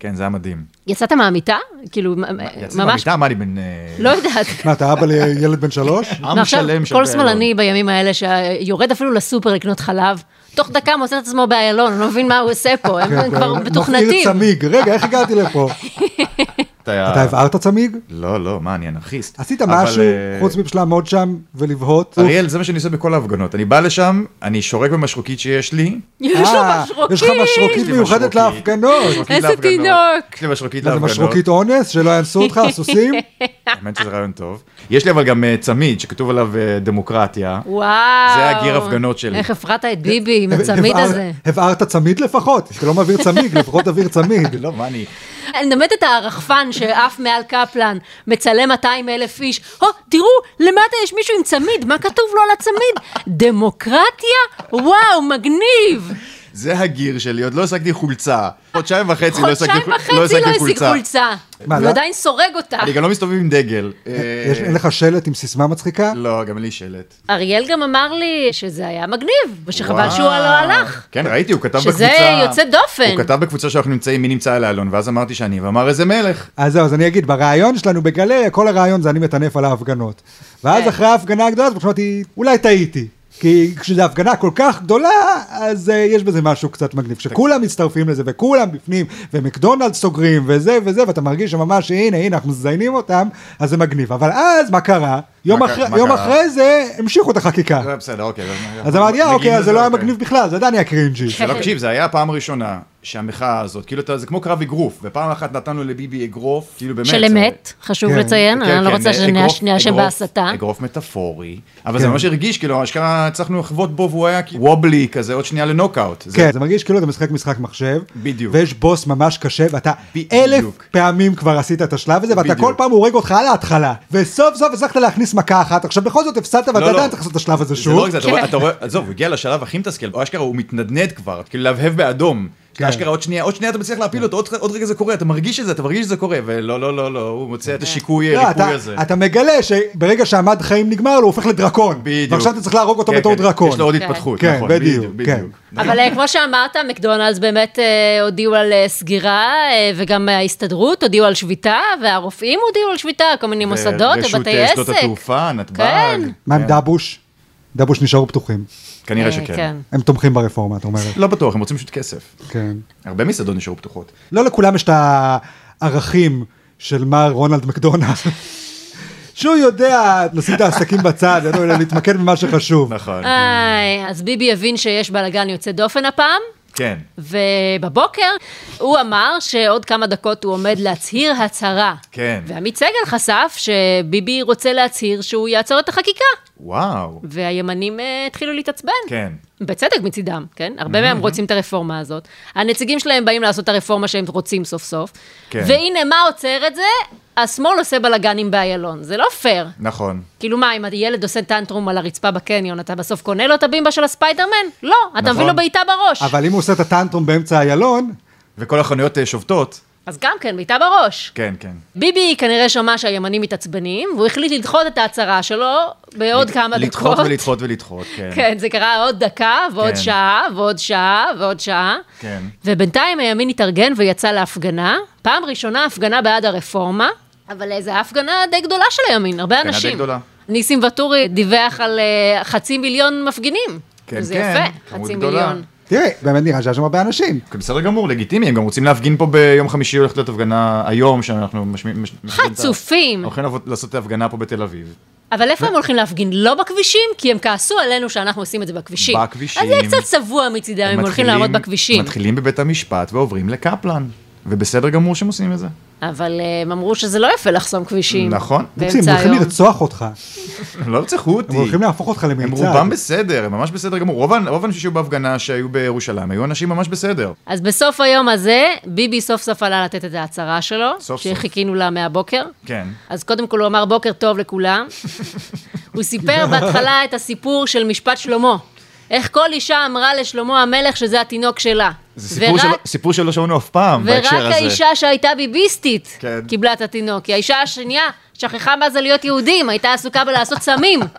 S3: כן, זה היה מדהים.
S2: יצאת מהמיטה? כאילו, מ-
S3: יצא
S2: אה, ממש...
S3: מהמיטה, מה אני בן... אה,
S2: לא יודעת.
S1: מה, אתה אבא לילד בן שלוש?
S3: עם
S2: ועכשיו,
S3: שלם של
S2: כל
S3: באלון.
S2: שמאלני בימים האלה שיורד אפילו לסופר לקנות חלב, תוך דקה מוצא את עצמו באיילון, אני לא מבין מה הוא עושה פה,
S1: אוקיי.
S2: הם כבר
S1: מפעיל
S2: מתוכנתים.
S1: צמיג, רגע, איך הגעתי לפה?
S3: אה.
S1: אתה הבערת צמיג?
S3: לא, לא, מה, אני אנרכיסט.
S1: עשית
S3: אבל,
S1: משהו
S3: אה,
S1: חוץ מפשוט לעמוד שם ולבהות?
S3: אריאל, זה מה שאני עושה בכל ההפגנות. אני בא לשם, אני שורק במשרוקית שיש לי.
S2: יש לו
S1: אה, יש לך
S2: משרוקים!
S1: משרוקית
S3: יש לי
S1: מיוחדת
S3: משרוקית.
S1: להפגנות.
S3: משרוקית
S2: איזה
S3: להפגנות.
S2: תינוק.
S3: יש לי משרוקית
S1: מה זה
S3: להפגנות.
S1: משרוקית אונס? שלא יאנסו אותך, הסוסים?
S3: האמת שזה רעיון טוב. יש לי אבל גם אה, צמיד שכתוב עליו אה, דמוקרטיה.
S2: וואו.
S3: זה הגיר הפגנות שלי.
S2: איך הפרעת את ביבי עם
S1: הבער-
S2: הצמיד הזה.
S1: הבערת צמיד לפחות, אתה לא מעביר צמיג, לפחות תעביר צמיד.
S3: לא, מה אני...
S2: אני מדמיינת את הרחפן שעף מעל קפלן, מצלם 200 אלף איש. הו, תראו, למטה יש מישהו עם צמיד, מה כתוב לו על הצמיד? דמוקרטיה? וואו, מגניב.
S3: זה הגיר שלי, עוד לא השגתי חולצה. חודשיים וחצי לא
S2: חודשיים
S3: השגתי חול-
S2: וחצי לא השיג חולצה.
S1: מה,
S2: הוא
S1: לא?
S2: עדיין סורג אותה.
S3: אני גם לא מסתובב עם דגל. אה,
S1: יש- אין לך שלט עם סיסמה מצחיקה?
S3: לא, גם לי שלט.
S2: אריאל גם אמר לי שזה היה מגניב, ושחבל
S3: וואו.
S2: שהוא לא הלך.
S3: כן, ראיתי, הוא כתב
S2: שזה
S3: בקבוצה...
S2: יוצא דופן.
S3: הוא כתב בקבוצה שאנחנו נמצאים, מי נמצא על האלון, ואז אמרתי שאני, ואמר איזה מלך.
S1: אז זהו, אז אני אגיד, ברעיון שלנו בגלי, כל הרעיון זה אני מטנף על ההפגנות. ואז
S2: כן.
S1: אחרי ההפגנה הגדולה, אז אמרתי, אולי טעיתי. כי כשזו הפגנה כל כך גדולה, אז uh, יש בזה משהו קצת מגניב. שכולם מצטרפים לזה, וכולם בפנים, ומקדונלד סוגרים, וזה וזה, ואתה מרגיש שממש, הנה, הנה, אנחנו מזיינים אותם, אז זה מגניב. אבל אז, מה קרה? יום,
S3: מה
S1: אחרי,
S3: קרה? מה
S1: יום
S3: קרה?
S1: אחרי זה, המשיכו את החקיקה.
S3: אה, בסדר, אוקיי.
S1: אז אמרתי, אה,
S3: מגיעים
S1: אוקיי, אז זה
S3: לזה,
S1: לא היה
S3: אוקיי."
S1: מגניב בכלל, זה עדיין היה קרינג'י.
S3: זה לא, תקשיב, זה היה הפעם הראשונה שהמחאה הזאת, כאילו, אתה- זה כמו קרב אגרוף, ופעם אחת נתנו לביבי אגרוף, כאילו באמת.
S2: של
S3: זה-
S2: אמת, חשוב
S1: כן.
S2: לציין,
S3: כן,
S2: אני לא
S3: כן,
S2: רוצה
S3: אה, אגרוף-
S2: שנאשם
S3: אגרוף-
S2: בהסתה.
S3: אגרוף מטאפורי, אבל זה
S1: כן.
S3: ממש הרגיש, כאילו, אשכרה הצלחנו לחבוט בו והוא היה כאילו וובלי כזה, עוד שנייה לנוקאוט. זה-
S1: כן, זה מרגיש כאילו אתה משחק משחק מחשב,
S3: בדיוק.
S1: ויש בוס ממש קשה, ואתה
S3: בדיוק.
S1: אלף פעמים כבר עשית את השלב הזה, ואתה
S3: בדיוק.
S1: כל פעם הורג אותך על ההתחלה, וסוף סוף הצלחת להכניס מכה אחת, עכשיו בכל זאת הפסדת, ואתה
S3: לא, לא.
S1: עדיין צריך לעשות את השלב הזה
S3: זה לא
S1: שוב.
S3: רק זה, אתה רואה-
S2: כן.
S3: אתה רואה, עזוב, הוא הגיע לשלב הכי מתסכל, הוא אשכרה הוא מתנדנד כבר, כאילו להבהב באדום.
S1: כן.
S3: אשכרה עוד שנייה, עוד שנייה אתה מצליח להפיל אותו, עוד- עוד רגע זה קורה, אתה מרגיש את זה, אתה מרגיש שזה קורה, ולא, לא, לא, לא, הוא מוצא
S2: כן.
S3: את השיקוי,
S1: לא,
S3: ריפוי
S1: אתה-
S3: הזה.
S1: אתה מגלה שברגע שהמד חיים נגמר לו, הוא הופך לדרקון.
S3: בדיוק.
S1: ועכשיו אתה צריך להרוג אותו
S3: כן,
S1: בתור
S3: כן,
S1: דרקון.
S3: יש לו עוד
S2: כן.
S3: התפתחות,
S1: כן,
S3: נכון,
S1: בדיוק,
S3: בדיוק,
S1: כן.
S3: בדיוק.
S2: אבל אה, כמו שאמרת, מקדונלדס באמת אה, הודיעו על אה, סגירה, אה, וגם ההסתדרות הודיעו על שביתה, והרופאים הודיעו על שביתה, כל מיני מוסדות
S3: רשות,
S2: ובתי
S3: אה,
S2: עסק.
S3: שדות התעופה, נתב"ג,
S2: כן.
S1: מה עם דבוש? דבוש נשארו פתוחים.
S3: כנראה
S2: אה,
S3: שכן.
S2: כן.
S1: הם תומכים ברפורמה, את אומרת.
S3: לא בטוח, הם רוצים פשוט כסף.
S1: כן.
S3: הרבה מסעדות נשארו פתוחות.
S1: לא לכולם יש את הערכים של מר רונלד מקדונלד. שהוא יודע לשים את העסקים בצד, אלא להתמקד במה שחשוב.
S3: נכון.
S2: איי, אז ביבי הבין שיש בלאגן יוצא דופן הפעם,
S3: כן.
S2: ובבוקר הוא אמר שעוד כמה דקות הוא עומד להצהיר הצהרה.
S3: כן.
S2: ועמית סגל חשף שביבי רוצה להצהיר שהוא יעצור את החקיקה,
S3: וואו.
S2: והימנים אה, התחילו להתעצבן.
S3: כן.
S2: בצדק מצידם, כן? הרבה מהם רוצים את הרפורמה הזאת. הנציגים שלהם באים לעשות את הרפורמה שהם רוצים סוף סוף.
S3: כן.
S2: והנה, מה עוצר את זה? השמאל עושה בלאגנים באיילון. זה לא פייר.
S3: נכון.
S2: כאילו מה, אם הילד עושה טנטרום על הרצפה בקניון, אתה בסוף קונה לו את הבימבה של הספיידרמן? לא, אתה מביא
S3: נכון.
S2: לו בעיטה בראש.
S1: אבל אם הוא עושה את הטנטרום באמצע איילון,
S3: וכל החנויות אה, שובתות.
S2: אז גם כן, בעיטה בראש.
S3: כן, כן.
S2: ביבי כנראה שמע שהימנים מתעצבנים, והוא החליט לדחות את ההצהרה שלו בעוד כמה דקות.
S3: לדחות ולדחות ולדחות, כן.
S2: כן, זה קרה עוד דקה, ועוד
S3: כן.
S2: שעה, ועוד שעה, ועוד שעה.
S3: כן.
S2: ובינתיים הימין התארגן ויצא להפגנה. פעם ראשונה הפגנה בעד הרפורמה, אבל אה, זו הייתה הפגנה די גדולה של הימין, הרבה
S3: הפגנה די
S2: אנשים.
S3: גדולה.
S2: ניסים ואטורי דיווח על אה, חצי מיליון מפגינים.
S3: כן,
S2: זה
S3: כן,
S2: יפה,
S3: כמות
S2: חצי
S3: גדולה.
S2: מיליון.
S1: תראה, באמת נראה שיש שם הרבה אנשים.
S3: כן, בסדר גמור, לגיטימי, הם גם רוצים להפגין פה ביום חמישי, הולכת להיות הפגנה היום, שאנחנו משמיעים... מש- משמיעים את ה-
S2: חצופים.
S3: הולכים לעבוד- לעשות הפגנה פה בתל אביב.
S2: אבל איפה הם הולכים להפגין? לא בכבישים, כי הם כעסו עלינו שאנחנו עושים את זה בכבישים.
S3: בכבישים.
S2: אז זה יהיה קצת צבוע מצידם, הם הולכים
S3: מתחילים-
S2: לעמוד בכבישים.
S3: מתחילים בבית המשפט ועוברים לקפלן, ובסדר גמור שהם עושים את זה.
S2: אבל אה, הם אמרו שזה לא יפה לחסום כבישים.
S3: נכון.
S1: רוצים,
S2: באמצע
S1: הולכים
S2: היום.
S1: לרצוח אותך.
S3: הם לא ירצחו אותי.
S1: הם הולכים להפוך אותך למיצר.
S3: הם רובם בסדר, הם ממש בסדר גמור. רוב האנ- רוב האנשים שהיו בהפגנה שהיו בירושלים, היו אנשים ממש בסדר.
S2: אז בסוף היום הזה, ביבי סוף סוף עלה לתת את ההצהרה שלו,
S3: סוף.
S2: שחיכינו לה מהבוקר.
S3: כן.
S2: אז קודם כל הוא אמר בוקר טוב לכולם. הוא סיפר בהתחלה את הסיפור של משפט שלמה. איך כל אישה אמרה לשלמה המלך שזה התינוק שלה.
S3: זה סיפור
S2: ורק-
S3: שלא- סיפור שלא שמענו אף פעם בהקשר הזה.
S2: ורק האישה שהייתה ביביסטית
S3: כן.
S2: קיבלה את התינוק, כי האישה השנייה שכחה מה זה להיות יהודים, הייתה עסוקה בלעשות סמים.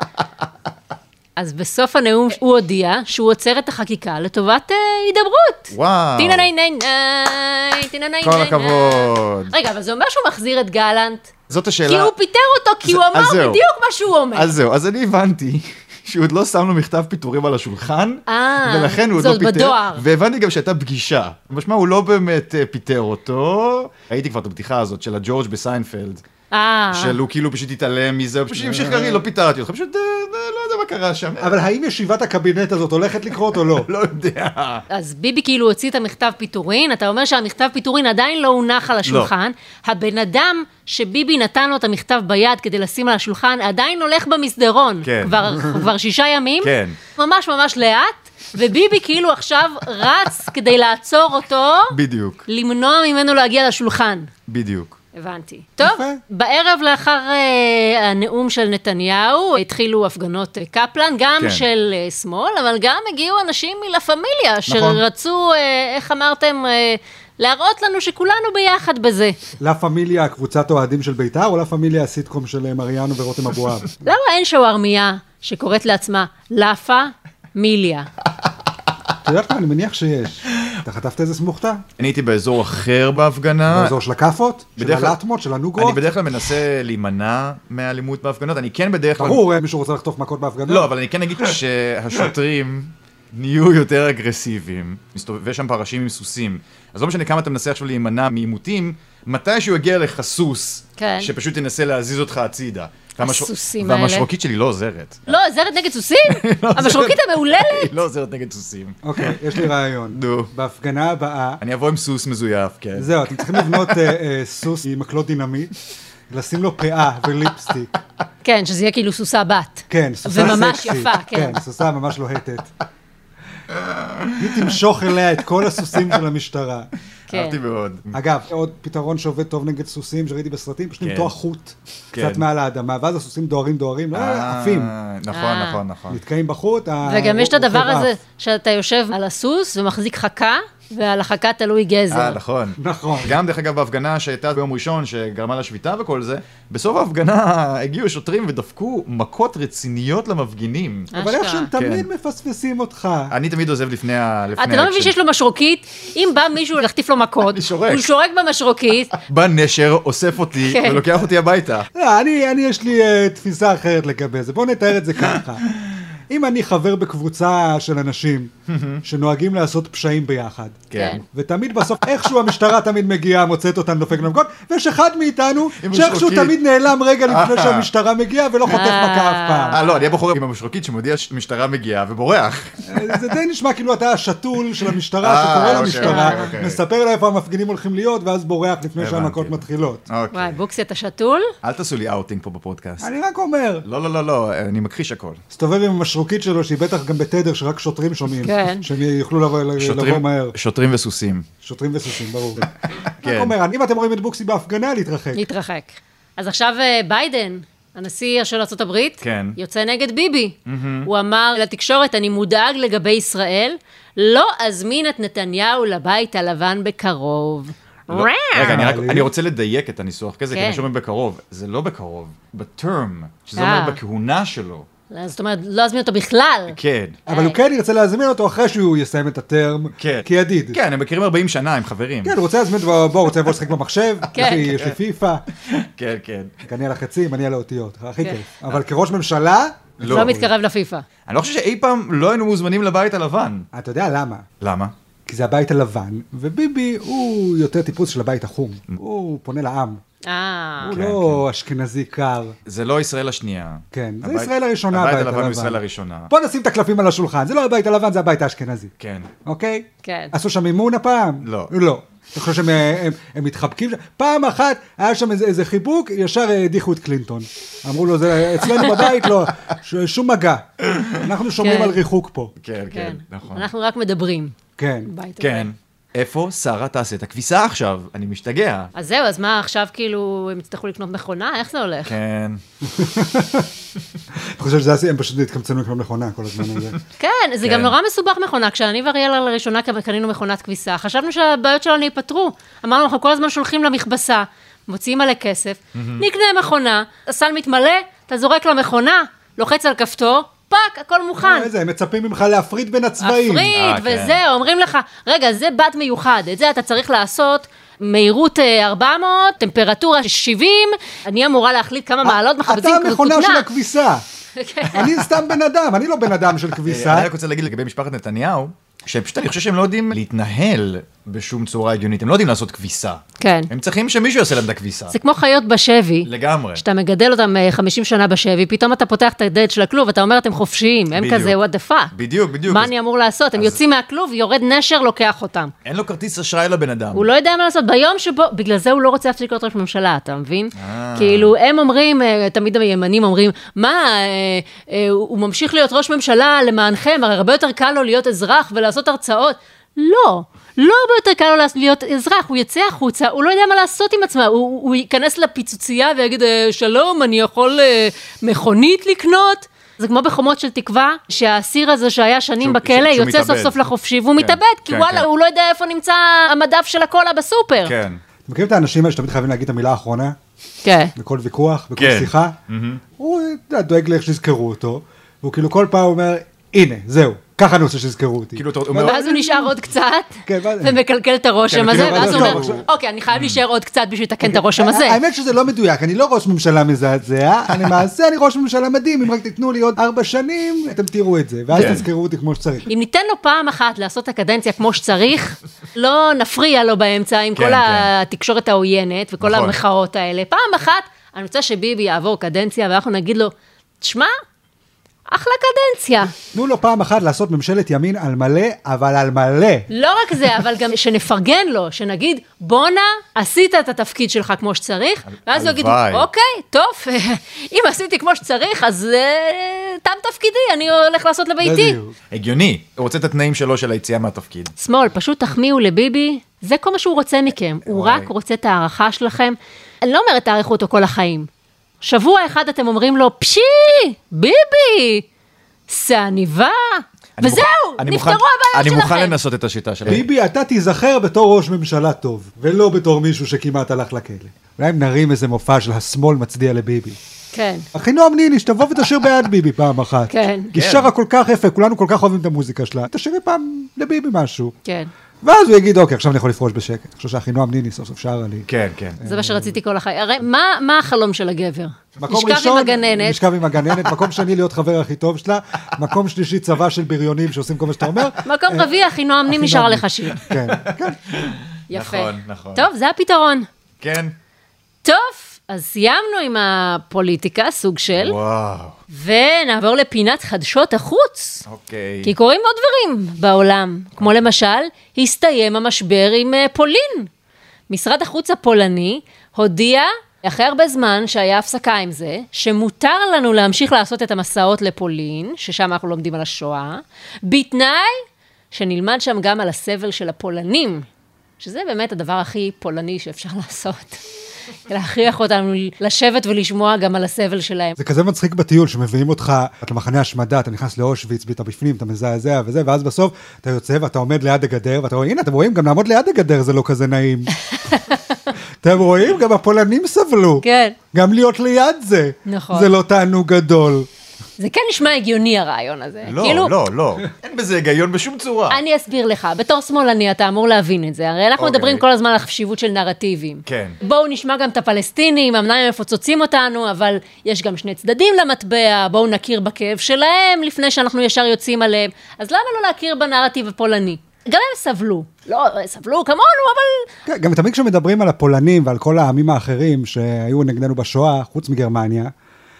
S2: אז בסוף הנאום הוא הודיע שהוא עוצר את החקיקה לטובת אה, הידברות.
S3: וואו.
S2: טינני ני ני, טינני ני
S3: כל
S2: ני.
S3: הכבוד.
S2: רגע, אבל זה אומר שהוא מחזיר את גלנט,
S3: זאת השאלה.
S2: כי הוא פיטר אותו, כי
S3: זה-
S2: הוא אמר
S3: אז זהו.
S2: בדיוק מה שהוא אומר.
S3: אז זהו, אז אני הבנתי שהוא עוד לא שם לו מכתב פיטורים על השולחן,
S2: אה,
S3: ולכן הוא עוד
S2: זה
S3: לא
S2: עוד
S3: פיטר,
S2: בדואר.
S3: והבנתי גם שהייתה פגישה. משמע, הוא לא באמת אה, פיטר אותו. ראיתי כבר את הבדיחה הזאת של הג'ורג' בסיינפלד,
S2: אה,
S3: של הוא כאילו פשוט התעלם מזה, הוא פשוט המשיך להגיד, לא פיטרתי אותך, פשוט אה, אה, לא יודע מה קרה שם.
S1: אבל האם ישיבת הקבינט הזאת הולכת לקרות או לא?
S3: לא יודע.
S2: אז ביבי כאילו הוציא את המכתב פיטורין, אתה אומר שהמכתב פיטורין עדיין לא הונח על השולחן. הבן אדם שביבי נתן לו את המכתב ביד כדי לשים על השולחן, עדיין הולך במסדרון.
S3: כן.
S2: כבר, כבר שישה ימים.
S3: כן.
S2: ממש ממש לאט, וביבי כאילו עכשיו רץ כדי לעצור אותו,
S3: בדיוק,
S2: למנוע ממנו להגיע לשולחן.
S3: בדיוק.
S2: הבנתי. טוב,
S1: יפה.
S2: בערב לאחר אה, הנאום של נתניהו, התחילו הפגנות אה, קפלן, גם
S3: כן.
S2: של אה, שמאל, אבל גם הגיעו אנשים מלה פמיליה,
S1: נכון.
S2: שרצו, אה, איך אמרתם, אה, להראות לנו שכולנו ביחד בזה.
S1: לה פמיליה, קבוצת אוהדים של בית"ר, או לה פמיליה, הסיטקום של אה, מריאנו ורותם אבואב?
S2: למה אין שווארמיה שקוראת לעצמה לאפה מיליה?
S1: את יודעת מה, אני מניח שיש. אתה חטפת איזה סמוכתה?
S3: אני הייתי באזור אחר בהפגנה.
S1: באזור של הכאפות? של
S3: אה, בדרך כלל-
S1: הלטמות? של
S3: אני
S1: הנוגות?
S3: בדרך כלל מנסה להימנע מהאלימות בהפגנות, אני כן בדרך כלל...
S1: ברור, אה, מישהו רוצה לחטוף מכות בהפגנות?
S3: לא, אבל אני כן אגיד שהשוטרים נהיו יותר אגרסיביים. מסתובבי שם פרשים עם סוסים. אז לא משנה כמה אתה מנסה עכשיו להימנע מעימותים, מתישהו יגיע לך סוס,
S2: כן.
S3: שפשוט ינסה להזיז אותך הצידה. והמש-
S2: הסוסים האלה.
S3: והמשרוקית שלי לא עוזרת.
S2: לא, עזרת נגד סוסים? המשרוקית המהוללת?
S3: היא לא עוזרת נגד סוסים.
S1: אוקיי, יש לי רעיון.
S3: נו.
S1: בהפגנה הבאה,
S3: אני אבוא עם סוס מזויף, כן.
S1: זהו, אתם צריכים לבנות אה, אה, סוס עם מקלות דינמיט, לשים לו פאה וליפסטיק.
S2: כן, שזה יהיה כאילו סוסה בת.
S1: כן, סוסה סקסית.
S2: וממש יפה, כן.
S1: כן, סוסה ממש לוהטת. היא תמשוך אליה את כל הסוסים של המשטרה.
S2: כן.
S3: אהבתי מאוד.
S1: אגב, עוד פתרון שעובד טוב נגד סוסים שראיתי בסרטים, פשוט
S3: כן.
S1: למתוח חוט
S3: כן.
S1: קצת מעל האדמה, ואז הסוסים דוהרים דוהרים, אה, עפים,
S3: אה, נכון,
S2: אה.
S3: נכון, נכון.
S1: נתקעים בחוט. ה-
S2: וגם יש את
S1: הוא-
S2: הדבר
S1: הוא
S2: הזה
S1: עף.
S2: שאתה יושב על הסוס ומחזיק חכה, ועל החכה תלוי גזר.
S3: אה, נכון.
S1: נכון.
S3: גם, דרך אגב, בהפגנה שהייתה ביום ראשון, שגרמה לשביתה וכל זה, בסוף ההפגנה הגיעו שוטרים ודפקו מכות רציניות למפגינים.
S1: אבל איך
S2: אשכרה.
S1: שהם תמיד
S3: כן.
S1: מפספסים אותך.
S3: אני תמיד עוזב לפני ה... לפני
S2: אתה לא מבין שיש לו משרוקית, אם בא מישהו להחטיף לו מכות,
S3: אני שורק. אוקיי.
S2: הוא שורק במשרוקית,
S3: בא נשר, אוסף אותי
S2: כן.
S3: ולוקח אותי הביתה.
S1: לא, אני, אני יש לי אה, תפיסה אחרת לגבי זה. בואו נתאר את זה ככה. אם אני חבר בקבוצה של אנשים שנוהגים לעשות פשעים ביחד,
S2: כן.
S1: ותמיד בסוף איכשהו המשטרה תמיד מגיעה, מוצאת אותנו, דופק לנו מכות, ויש אחד מאיתנו
S3: עם
S1: שאיכשהו
S3: משרוקית.
S1: תמיד נעלם רגע לפני
S3: אה.
S1: שהמשטרה מגיעה ולא חוטף מכה אף פעם.
S3: אה, לא, אני הבחור עם המשרוקית שמודיע שהמשטרה מגיעה ובורח.
S1: זה די נשמע כאילו אתה השתול של
S3: אה,
S1: המשטרה שקורא
S3: אוקיי,
S1: למשטרה,
S3: אוקיי, אוקיי.
S1: מספר לה איפה המפגינים הולכים להיות, ואז בורח לפני
S3: הבנתי.
S1: שהמכות מתחילות.
S3: אוקיי.
S2: וואי, בוקסי אתה שתול?
S3: אל תעשו לי אאוטינג פה בפודקאסט.
S1: אני רק אומר,
S3: לא, לא, לא, לא, אני מכחיש הכל.
S1: הסתובב עם המשרוקית שלו, שהיא בטח גם בתדר שרק שוטרים שומעים.
S2: כן.
S1: שהם יוכלו לבוא, לבוא
S3: שוטרים-
S1: מהר.
S3: שוטרים וסוסים.
S1: שוטרים וסוסים, ברור.
S3: כן.
S1: רק אומר, אם אתם רואים את בוקסי בהפגנה, להתרחק.
S2: להתרחק. אז עכשיו אה, ביידן, הנשיא של ארה"ב,
S3: כן.
S2: יוצא נגד ביבי. הוא אמר לתקשורת, אני מודאג לגבי ישראל, לא אזמין את נתניהו לבית הלבן בקרוב.
S3: לא, רגע, אני רק,
S1: מעליב.
S3: אני רוצה לדייק את הניסוח כזה, כי
S2: אה. כן.
S3: אני שומע בקרוב, זה לא בקרוב, בטרם, שזה
S2: אה.
S3: אומר בכהונה שלו,
S2: לא, זאת אומרת, לא אזמין אותו בכלל.
S3: כן.
S1: אבל הוא כן ירצה להזמין אותו אחרי שהוא יסיים את הטרם,
S3: כן.
S1: כידיד.
S3: כן, הם מכירים 40 שנה, הם חברים.
S1: כן, הוא רוצה להזמין, בוא, בוא, רוצה לבוא לשחק במחשב,
S2: כן.
S1: יש לי- יש לי פיפא,
S3: כן, כן.
S1: אני על החצים, אני על האותיות, הכי
S2: כן.
S1: כיף. אבל כראש ממשלה,
S2: לא,
S3: לא.
S2: מתקרב לפיפ"א.
S3: אני לא חושב שאי פעם לא היינו מוזמנים לבית הלבן.
S1: אתה יודע למה?
S3: למה?
S1: כי זה הבית הלבן, וביבי הוא יותר טיפוס של הבית החום. הוא פונה לעם,
S2: אה,
S1: הוא
S3: Mm. כן,
S1: לא אשכנזי קר.
S3: זה לא ישראל השנייה.
S1: כן, זה
S3: הבית-
S1: ישראל הראשונה,
S3: הבית הלבן הוא ישראל הראשונה.
S1: בוא נשים את הקלפים על השולחן, זה לא הבית הלבן, זה הבית האשכנזי,
S3: כן.
S1: אוקיי?
S2: כן.
S1: עשו שם אימון הפעם?
S3: לא.
S1: לא. אתה חושב שהם אה, הם- הם מתחבקים? שם? פעם אחת היה שם איזה, איזה חיבוק, ישר אה, הדיחו את קלינטון. אמרו לו, זה אצלנו בבית לא, ש, שום מגע. אנחנו שומרים
S2: כן.
S1: על ריחוק פה.
S3: כן,
S2: כן.
S3: כן, נכון.
S2: אנחנו רק מדברים.
S1: כן.
S2: בית
S3: כן.
S2: הלבן.
S3: איפה שרה תעשה את הכביסה עכשיו? אני משתגע.
S2: אז זהו, אז מה עכשיו כאילו, הם יצטרכו לקנות מכונה? איך זה הולך?
S3: כן.
S1: אתה חושב שזה הסיבה, הם פשוט התקמצנו כמו מכונה כל הזמן הזה.
S2: כן, זה
S3: כן.
S2: גם נורא מסובך מכונה. כשאני ואריאל לראשונה קב- קנינו מכונת כביסה, חשבנו שהבעיות שלנו ייפתרו. אמרנו, אנחנו כל הזמן שולחים למכבסה, מוציאים עליה כסף, נקנה מכונה, הסל מתמלא, אתה זורק למכונה, לוחץ על כפתור, פאק, הכל מוכן.
S1: איזה, הם מצפים ממך להפריד בין הצבעים.
S2: הפריד
S3: אה,
S2: וזה,
S3: כן.
S2: אומרים לך, רגע, זה בד מיוחד, את זה אתה צריך לעשות. מהירות אה, 400, טמפרטורה 70, אני אמורה להחליט
S3: אה,
S2: כמה מעלות כן.
S1: אתה
S2: מחפצים
S1: המכונה של הכביסה. אני סתם בן אדם, אני לא בן אדם של
S3: אה,
S1: כביסה.
S3: אני רק רוצה להגיד לגבי משפחת נתניהו, שפשוט אני חושב שהם לא יודעים להתנהל בשום צורה הגיונית, הם לא יודעים לעשות כביסה.
S2: כן.
S3: הם צריכים שמישהו יעשה להם את הכביסה.
S2: זה כמו חיות בשבי.
S3: לגמרי.
S2: שאתה מגדל אותם אה, 50 שנה בשבי, פתאום אתה פותח את הדלת של הכלוב, אתה אומר, אתם חופשיים, הם
S3: בדיוק.
S2: כזה, what the fuck.
S3: בדיוק, בדיוק.
S2: מה
S3: אז-
S2: אני אמור לעשות? הם
S3: אז-
S2: יוצאים מהכלוב, יורד נשר, לוקח אותם.
S3: אין לו כרטיס אשראי לבן אדם.
S2: הוא לא יודע מה לעשות, ביום שבו, בגלל זה הוא לא רוצה להפסיק להיות ראש ממשלה, אתה מבין?
S3: אה.
S2: כאילו, הם אומרים, אה, תמיד הימנים אומרים, מה, אה, אה, הוא הוא ממשיך להיות ראש ממשלה למענכם, הרי הרבה יותר קל לו להיות אזרח ולעשות הרצאות. לא, לא הרבה יותר קל לו להיות אזרח, הוא יצא החוצה, הוא לא יודע מה לעשות עם עצמו, הוא, הוא הוא ייכנס לפיצוצייה ויגיד, "אה, שלום, אני יכול אה, מכונית לקנות? זה כמו בחומות של תקווה, שהאסיר הזה שהיה שנים
S3: שהוא-
S2: בכלא
S3: שהוא
S2: יוצא סוף
S3: מתאבד.
S2: סוף לחופשי, והוא
S3: כן,
S2: מתאבד, כי
S3: כן,
S2: וואלה,
S3: כן.
S2: הוא לא יודע איפה נמצא המדף של הקולה בסופר.
S3: כן.
S1: אתם מכירים את האנשים האלה שתמיד חייבים להגיד את המילה האחרונה?
S2: כן.
S1: בכל ויכוח, בכל
S3: כן.
S1: שיחה? הוא אתה יודע, דואג לאיך שיזכרו אותו, והוא כאילו כל פעם אומר, הנה, זהו, ככה אני רוצה שיזכרו אותי.
S3: כאילו, אתה אומר-
S2: ואז הוא נשאר עוד קצת,
S1: כן, ואז-
S2: ומקלקל את הרושם
S3: כן,
S2: הזה,
S3: כאילו,
S2: ואז
S1: אבל
S2: הוא
S1: טוב,
S2: אומר,
S1: עכשיו-
S2: אוקיי, אני חייב להישאר עוד קצת בשביל
S3: אוקיי.
S2: לתקן את הרושם הזה.
S1: האמת שזה לא מדויק, אני לא ראש ממשלה מזעזע, אני מעשה, אני ראש ממשלה מדהים, אם רק תיתנו לי עוד ארבע שנים, אתם תראו את זה, ואז
S3: כן.
S1: תזכרו אותי כמו שצריך.
S2: אם ניתן לו פעם אחת לעשות את הקדנציה כמו שצריך, לא נפריע לו באמצע עם
S3: כן,
S2: כל
S3: כן.
S2: התקשורת העוינת וכל
S3: נכון.
S2: המחאות האלה. פעם אחת, אני רוצה שביבי יעבור קדנציה ואנחנו נגיד לו, תשמע, אחלה קדנציה.
S1: תנו לו פעם אחת לעשות ממשלת ימין על מלא, אבל על מלא.
S2: לא רק זה, אבל גם שנפרגן לו, שנגיד, בואנה, עשית את התפקיד שלך כמו שצריך, ואז הוא יגיד,
S3: הלוואי.
S2: אוקיי, טוב, אם עשיתי כמו שצריך, אז אה, תם תפקידי, אני הולך לעשות לביתי.
S1: בדיוק.
S3: הגיוני. הוא רוצה את התנאים שלו של היציאה מהתפקיד.
S2: שמאל, פשוט תחמיאו לביבי, זה כל מה שהוא רוצה מכם, הוא
S3: וואי.
S2: רק רוצה את ההערכה שלכם. אני לא אומרת תעריכו אותו כל החיים. שבוע אחד אתם אומרים לו, פשי, ביבי, סעניבה,
S3: אני
S2: וזהו,
S3: מוכן- אני
S2: נפתרו
S3: מוכן-
S2: הבעיות שלכם.
S3: אני מוכן לנסות את השיטה
S2: כן.
S3: שלהם.
S1: ביבי, אתה תיזכר בתור ראש ממשלה טוב, ולא בתור מישהו שכמעט הלך לכלא. אולי אם נרים איזה מופע של השמאל מצדיע לביבי.
S2: כן.
S1: אחינועם ניני, שתבוא ותשיר בעד ביבי פעם אחת.
S2: כן.
S1: היא
S3: כן.
S1: שרה כל כך יפה, כולנו כל כך אוהבים את המוזיקה שלה, תשאירי פעם לביבי משהו.
S2: כן,
S1: ואז הוא יגיד, אוקיי, עכשיו אני יכול לפרוש בשקט. אני חושב שאחינועם ניני סוף סוף שרה לי.
S3: כן, כן.
S2: זה מה שרציתי כל החיים. הרי מה, מה החלום של הגבר?
S1: מקום
S2: נשכב
S1: ראשון,
S2: עם הגננת,
S1: נשכב עם הגננת, מקום שני להיות חבר הכי טוב שלה, מקום שלישי צבא של בריונים שעושים כל מה שאתה אומר.
S2: מקום רביעי, אחינועם נים נשאר לך שיר.
S1: כן, כן.
S2: יפה.
S3: נכון, נכון.
S2: טוב, זה הפתרון.
S3: כן.
S2: טוב, אז סיימנו עם הפוליטיקה, סוג של,
S3: וואו.
S2: ונעבור לפינת חדשות החוץ.
S3: אוקיי.
S2: כי קורים עוד דברים בעולם, כמו למשל, הסתיים המשבר עם אה, פולין. משרד החוץ הפולני הודיע, אחרי הרבה זמן שהיה הפסקה עם זה, שמותר לנו להמשיך לעשות את המסעות לפולין, ששם אנחנו לומדים על השואה, בתנאי שנלמד שם גם על הסבל של הפולנים, שזה באמת הדבר הכי פולני שאפשר לעשות. להכריח אותנו לשבת ולשמוע גם על הסבל שלהם.
S1: זה כזה מצחיק בטיול, שמביאים אותך את למחנה השמדה, אתה נכנס לאושוויץ, ואתה בפנים, אתה מזעזע וזה, ואז בסוף אתה יוצא ואתה עומד ליד הגדר, ואתה רואה, הנה, אתם רואים, גם לעמוד ליד הגדר זה לא כזה נעים. אתם רואים, גם הפולנים סבלו.
S2: כן.
S1: גם להיות ליד זה.
S2: נכון.
S1: זה לא תענוג גדול.
S2: זה כן נשמע הגיוני הרעיון הזה. כאילו,
S3: לא, לא, לא. אין בזה היגיון בשום צורה.
S2: אני אסביר לך, בתור שמאלני אתה אמור להבין את זה, הרי אנחנו
S3: אה. אוקיי.
S2: מדברים כל הזמן על החשיבות של נרטיבים.
S3: כן.
S2: בואו נשמע גם את הפלסטינים, אמנם הם מפוצצים אותנו, אבל יש גם שני צדדים למטבע, בואו נכיר בכאב שלהם לפני שאנחנו ישר יוצאים עליהם. אז למה לא להכיר בנרטיב הפולני? גם הם סבלו. לא, סבלו כמונו, אבל...
S1: כן, גם תמיד כשמדברים על הפולנים ועל כל העמים האחרים שהיו נגדנו בשואה, חוץ מגרמניה,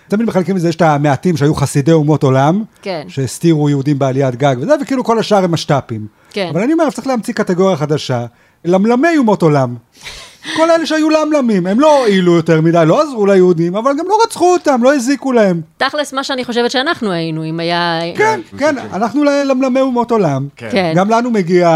S1: תמיד מחלקים את זה, יש את המעטים שהיו חסידי אומות עולם,
S2: כן.
S1: שהסתירו יהודים בעליית גג וזה, וכאילו כל השאר הם משת"פים.
S2: כן.
S1: אבל אני אומר, צריך להמציא קטגוריה חדשה, למלמי אומות עולם. כל אלה שהיו למלמים, הם לא הועילו יותר מדי, לא עזרו ליהודים, אבל גם לא רצחו אותם, לא הזיקו להם.
S2: תכלס, מה שאני חושבת שאנחנו היינו, אם היה...
S1: כן, כן, אנחנו למלמי אומות עולם.
S2: כן.
S1: גם לנו מגיע,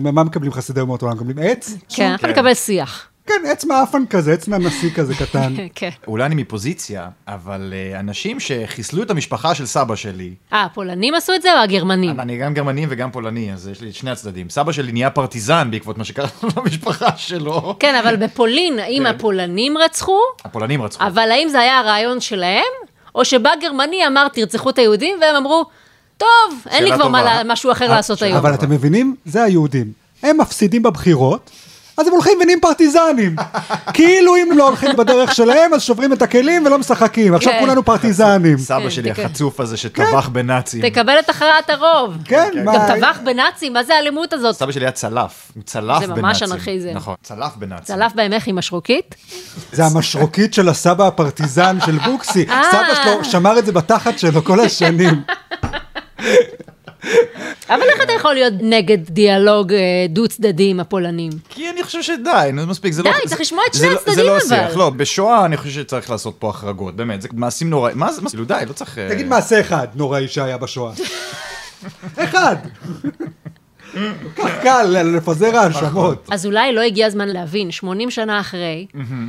S1: מה מקבלים חסידי אומות עולם? מקבלים עץ?
S2: כן, אנחנו
S3: כן.
S2: נקבל שיח.
S1: כן, עץ מעפן כזה, עץ ננסי כזה קטן.
S2: כן.
S3: אולי אני מפוזיציה, אבל אה, אנשים שחיסלו את המשפחה של סבא שלי,
S2: אה, הפולנים עשו את זה או הגרמנים?
S3: אני גם גרמני וגם פולני, אז יש לי את שני הצדדים. סבא שלי נהיה פרטיזן בעקבות מה שקרה למשפחה שלו.
S2: כן, אבל בפולין, האם הפולנים רצחו?
S3: הפולנים רצחו.
S2: אבל האם זה היה הרעיון שלהם? או שבא גרמני אמר, תרצחו את היהודים, והם אמרו, טוב, אין לי
S3: שאלה
S2: כבר מה
S3: טובה.
S2: לה- משהו אחר
S3: אה,
S2: לעשות
S3: שאלה
S2: היום.
S1: אבל אתם מבינים? זה היהודים. הם מפסידים בבחירות, אז הם הולכים ונהיים פרטיזנים. כאילו אם לא הולכים בדרך שלהם, אז שוברים את הכלים ולא משחקים. עכשיו
S2: כן.
S1: כולנו פרטיזנים.
S3: סבא
S2: כן,
S3: שלי
S2: תק-
S3: החצוף הזה שטבח בנאצים.
S2: תקבל את הכרעת הרוב.
S1: כן, מה...
S2: גם טבח בנאצים, מה זה האלימות הזאת?
S3: סבא שלי היה צלף, הוא צלף
S2: זה
S3: בנאצים.
S2: ממש אנרכיזם.
S3: נכון, צלף בנאצים.
S2: צלף בהם איך עם השרוקית?
S1: זה המשרוקית של הסבא הפרטיזן של בוקסי.
S2: אה.
S1: סבא שלו שמר את זה בתחת שלו כל השנים.
S2: אבל איך אתה יכול להיות נגד דיאלוג אה, דו-צדדי עם הפולנים?
S3: כי אני חושב שדי, נו, מספיק, זה לא...
S2: די, צריך
S3: זה-
S2: לשמוע את
S3: זה
S2: שני
S3: לא- זה
S2: הצדדים, אבל.
S3: לא השיח, לא, בשואה אני חושב שצריך לעשות פה החרגות, באמת, זה מעשים נוראים. מה זה, מה זה, כאילו, די, לא צריך... אה,
S1: תגיד מעשה אחד נוראי שהיה בשואה. אחד. כך קל לפזר האשמות.
S2: אז אולי לא הגיע הזמן להבין, 80 שנה אחרי,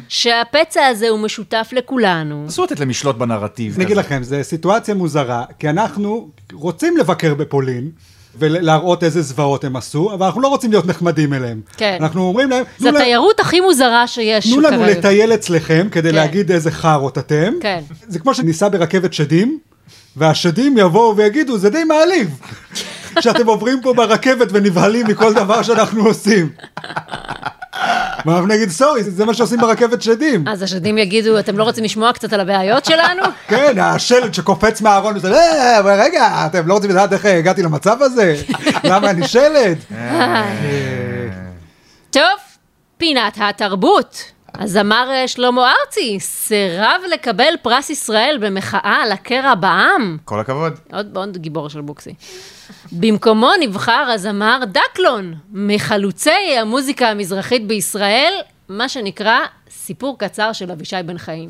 S2: שהפצע הזה הוא משותף לכולנו.
S3: אסור לתת להם לשלוט בנרטיב.
S1: אני אגיד
S3: כזה.
S1: לכם, זו סיטואציה מוזרה, כי אנחנו רוצים לבקר בפולין. ולהראות איזה זוועות הם עשו, אבל אנחנו לא רוצים להיות נחמדים אליהם.
S2: כן.
S1: אנחנו אומרים להם,
S2: זו
S1: "תנו לה-
S2: התיירות הכי מוזרה שיש
S1: תנו לנו
S2: כרגע.
S1: לטייל אצלכם כדי
S2: כן.
S1: להגיד איזה חארות אתם.
S2: כן.
S1: זה כמו שניסע ברכבת שדים, והשדים יבואו ויגידו, זה די מעליב. שאתם עוברים פה ברכבת ונבהלים מכל דבר שאנחנו עושים. ואנחנו נגיד, סורי, זה מה שעושים ברכבת שדים.
S2: אז השדים יגידו, אתם לא רוצים לשמוע קצת על הבעיות שלנו?
S1: כן, השלד שקופץ מהארון וזה, "אה, אבל רגע, אתם לא רוצים לדעת איך הגעתי למצב הזה? למה אני אה, שלד?
S2: אה, טוב, פינת התרבות. הזמר אה, שלמה ארצי סירב לקבל פרס ישראל במחאה על הקרע בעם.
S3: כל הכבוד.
S2: עוד עוד גיבור של בוקסי. במקומו נבחר הזמר דקלון, מחלוצי המוזיקה המזרחית בישראל, מה שנקרא סיפור קצר של אבישי בן חיים.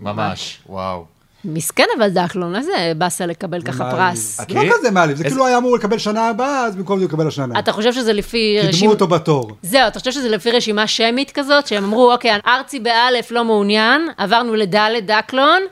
S3: ממש. וואו.
S2: מסכן אבל דקלון, איזה באסה לקבל ככה פרס.
S1: זה לא כזה מעליב, זה כאילו היה אמור לקבל שנה הבאה, אז במקום זה הוא יקבל השנה.
S2: אתה חושב שזה לפי
S1: קידמו אותו בתור.
S2: זהו, אתה חושב שזה לפי רשימה שמית כזאת, שהם אמרו, אוקיי, ארצי באלף לא מעוניין, עברנו לדלת דקלון,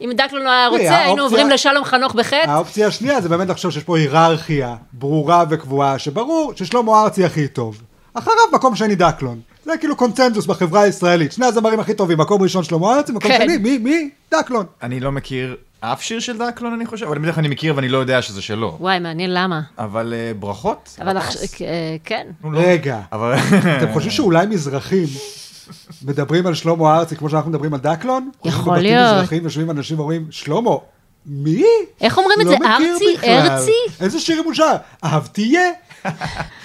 S2: אם דקלון לא היה רוצה,
S1: אוקיי, האופציה- אה,
S2: היינו עוברים לשלום חנוך בחטא,
S1: האופציה השנייה זה באמת לחשוב שיש פה היררכיה ברורה וקבועה, שברור ששלמה ארצי הכי טוב. אחריו מקום שני דקלון. זה כאילו קונצנזוס בחברה הישראלית. שני הזמרים הכי טובים, מקום ראשון שלמה ארצי, מקום
S2: כן.
S1: שני, מי? מי? דקלון.
S3: אני לא מכיר אף שיר של דקלון, אני חושב, אבל בדרך כלל אני מכיר ואני לא יודע שזה שלו.
S2: וואי, מעניין למה.
S3: אבל אה, ברכות.
S2: אבל
S3: הפרס.
S2: עכשיו, אה, כן.
S3: לא.
S1: רגע,
S3: אבל...
S1: אתם חושבים שאולי מזרחים מדברים על שלמה ארצי כמו שאנחנו מדברים על דקלון?
S2: יכול
S1: בבתים
S2: להיות.
S1: מזרחים יושבים אנשים ואומרים, שלמה, מי?
S2: איך אומרים את
S1: לא
S2: זה?
S1: מכיר
S2: ארצי?
S1: בכלל."
S2: ארצי?
S1: איזה שירים הוא שר? אהבתיה?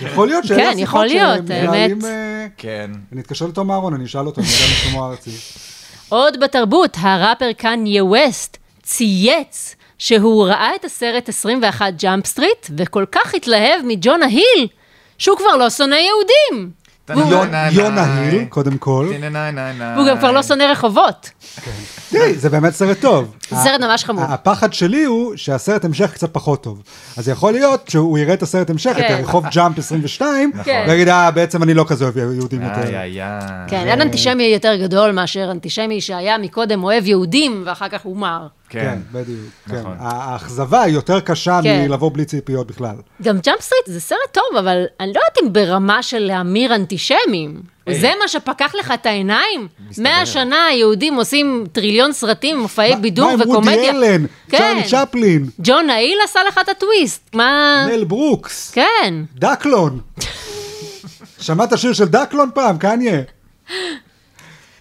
S1: יכול להיות שאלה
S2: כן,
S1: השיחות
S2: יכול להיות,
S1: שהם מנהלים,
S2: האמת.
S1: אה,
S3: כן.
S1: אני אתקשר לתום אהרון, אני אשאל אותו, אני יודע מה שלמה ארצי.
S2: עוד בתרבות, הראפר קניה ווסט צייץ שהוא ראה את הסרט 21 ג'אמפ סטריט, וכל כך התלהב מג'ונה היל, שהוא כבר לא שונא יהודים.
S1: אה, יונה- יונה היל, קודם כל.
S2: והוא גם
S1: אה.
S2: כבר לא שונא רחובות.
S1: תראי, זה באמת סרט טוב.
S2: זה סרט ממש חמור.
S1: הפחד שלי הוא שהסרט המשך קצת פחות טוב. אז יכול להיות שהוא יראה את הסרט המשך, את
S2: כן.
S1: רחוב ג'אמפ 22,
S2: כן.
S1: ויגיד, אה, בעצם אני לא כזה אוהב יהודים
S3: נכון. איי
S1: יותר.
S3: איי איי.
S2: כן,
S1: אה,
S2: אין אנטישמי יותר גדול מאשר אנטישמי שהיה מקודם אוהב יהודים, ואחר כך הוא מר.
S1: כן,
S3: כן.
S1: בדיוק. כן.
S3: נכון.
S1: האכזבה היא יותר קשה
S2: כן.
S1: מלבוא בלי ציפיות בכלל.
S2: גם ג'אמפ סטריט זה סרט טוב, אבל אני לא יודעת אם ברמה של להמיר אנטישמים.
S1: אה.
S3: היי.
S2: זה מה שפקח לך את העיניים?
S3: מסתבר.
S2: מאה שנה היהודים עושים טריליון סרטים, מופעי בידור
S1: מה עם וודי
S2: וקומדיה. כן.
S1: אלן, צ'רלי צ'פלין,
S2: ג'ון האיל עשה לך את הטוויסט. מה...
S1: מל ברוקס,
S2: כן.
S1: דקלון. שמעת שיר של דקלון פעם, קניה?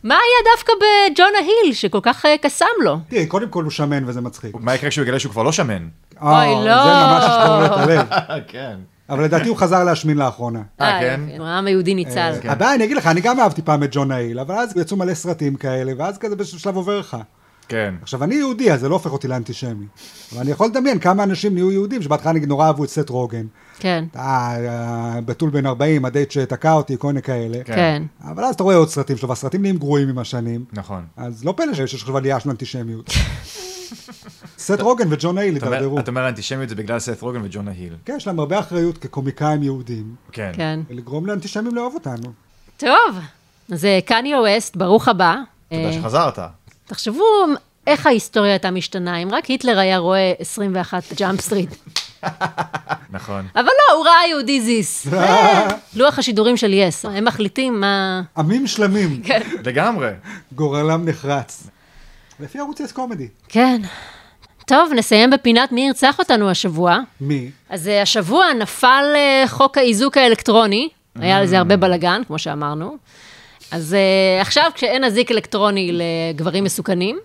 S2: מה היה דווקא בג'ון ההיל, שכל כך אה, קסם לו?
S1: תראי, קודם כל הוא שמן וזה מצחיק.
S3: מה יקרה כשהוא יגלה שהוא כבר לא שמן?
S1: אה,
S2: אוי,
S1: זה
S2: לא.
S1: ממש ישבור את הלב.
S3: כן.
S1: אבל לדעתי הוא חזר להשמין לאחרונה.
S3: אה, כן?
S2: יופי, העם היהודי ניצל.
S1: כן. הבעיה, אני אגיד לך, אני גם אהבתי פעם את ג'ון נאיל, אבל אז יצאו מלא סרטים כאלה, ואז כזה באיזשהו שלב עובר לך.
S3: כן.
S1: עכשיו, אני יהודי, אז זה לא הופך אותי לאנטישמי. אבל אני יכול לדמיין כמה אנשים נהיו יהודים, שבהתחלה אני נורא אהבו את סט רוגן.
S2: כן.
S1: אה, הבתול בן 40, הדייט שתקע אותי, כל מיני כאלה.
S3: כן.
S2: כן.
S1: אבל אז אתה רואה עוד סרטים שלו, והסרטים נהיים גרועים עם השנים.
S3: נכון.
S1: אז לא פלא שיש עכשיו עלייה של אנטישמיות. סט רוגן וג'ון נאיל
S3: אתה אומר-
S1: התדרדרו.
S3: אתה אומר אנטישמיות זה בגלל סeth רוגן וג'ונה היל.
S1: כן, יש להם הרבה אחריות כקומיקאים יהודים,
S3: כן.
S2: כן.
S1: לגרום לאנטישמים לאהוב אותנו.
S2: טוב, אז אה, קניה ווסט, ברוך הבא.
S3: תודה
S2: אה,
S3: שחזרת.
S2: תחשבו איך ההיסטוריה הייתה משתנה, אם רק היטלר היה רואה 21 ג'אמפ סטריט.
S3: נכון.
S2: אבל לא, הוא ראה יהודי זיס. אה, לוח השידורים של יס, הם מחליטים מה...
S1: עמים שלמים.
S3: לגמרי.
S1: גורלם נחרץ. לפי ערוץ יס קומדי.
S2: כן. טוב, נסיים בפינת מי ירצח אותנו השבוע.
S1: מי?
S2: אז אה, השבוע נפל אה, חוק האיזוק האלקטרוני, היה לזה
S1: Mm.
S2: הרבה בלאגן, כמו שאמרנו. אז אה, עכשיו, כשאין אזיק אלקטרוני לגברים מסוכנים,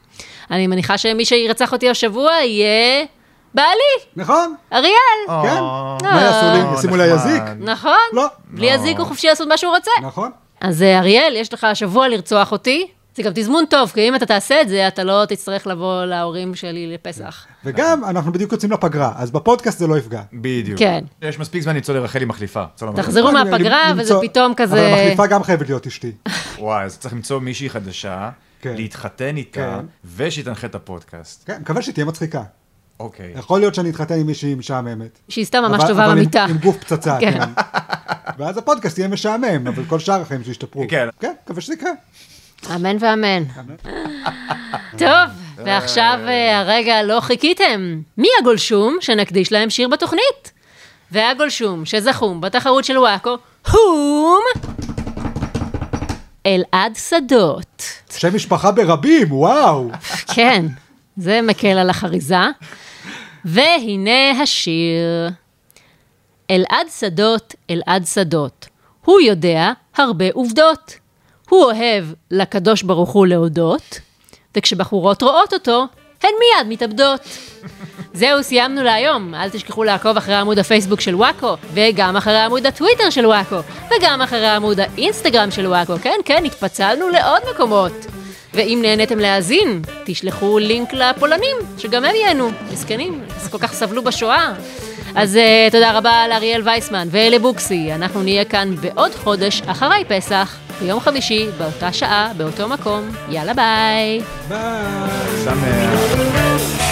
S2: אני מניחה שמי שירצח אותי השבוע יהיה בעלי,
S1: נכון?
S2: אריאל.
S1: כן.
S3: אה,
S1: מה יעשו לי?
S3: אה,
S1: ישימו
S3: נחמד.
S1: לי אזיק?
S2: נכון?
S1: לא.
S2: בלי אזיק הוא חופשי לעשות מה שהוא רוצה.
S1: נכון?
S2: אז אה, אריאל, יש לך השבוע לרצוח אותי. זה גם תזמון טוב, כי אם אתה תעשה את זה, אתה לא תצטרך לבוא להורים שלי לפסח.
S1: וגם, אנחנו בדיוק יוצאים לפגרה, אז בפודקאסט זה לא יפגע.
S3: בדיוק.
S2: כן.
S3: יש מספיק זמן למצוא לרחלי מחליפה. למצוא לה מחליפה.
S2: תחזרו
S1: אני-
S2: מהפגרה,
S1: למצוא-
S2: וזה פתאום כזה...
S1: אבל המחליפה גם חייבת להיות אשתי.
S3: וואי, אז צריך למצוא מישהי חדשה,
S1: כן.
S3: להתחתן איתה,
S1: כן.
S3: ושהיא תנחה את הפודקאסט.
S1: כן, מקווה שהיא תהיה מצחיקה.
S3: אוקיי.
S1: יכול להיות שאני אתחתן עם מישהי משעממת.
S2: שהיא סתם ממש
S1: אבל-
S2: טובה
S1: אבל עם-
S2: במיטה.
S1: עם גוף פצצה,
S2: כן.
S1: כן. ואז הפודקאסט יהיה משעמם, אבל כל שאר החיים שישתפרו.
S3: כן.
S1: כן, מקווה שזה יקרה.
S2: אמן ואמן. טוב, ועכשיו אה, הרגע לא חיכיתם. מי הגולשום שנקדיש להם שיר בתוכנית? והגולשום שזכום בתחרות של וואקו, הום! אלעד שדות.
S1: שם משפחה ברבים, וואו.
S2: כן, זה מקל על החריזה. והנה השיר. אלעד שדות, אלעד שדות. הוא יודע הרבה עובדות. הוא אוהב לקדוש ברוך הוא להודות, וכשבחורות רואות אותו, הן מיד מתאבדות. זהו, סיימנו להיום. אל תשכחו לעקוב אחרי עמוד הפייסבוק של וואקו, וגם אחרי עמוד הטוויטר של וואקו, וגם אחרי עמוד האינסטגרם של וואקו. כן, כן, התפצלנו לעוד מקומות. ואם נהניתם להאזין, תשלחו לינק לפולנים, שגם הם ייהנו. מסכנים, אז כל כך סבלו בשואה. אז uh, תודה רבה לאריאל וייסמן ואלי בוקסי. אנחנו נהיה כאן בעוד חודש, אחרי פסח, ביום חמישי, באותה שעה, באותו מקום. יאללה ביי.
S3: אה,
S1: ביי.
S3: שמח.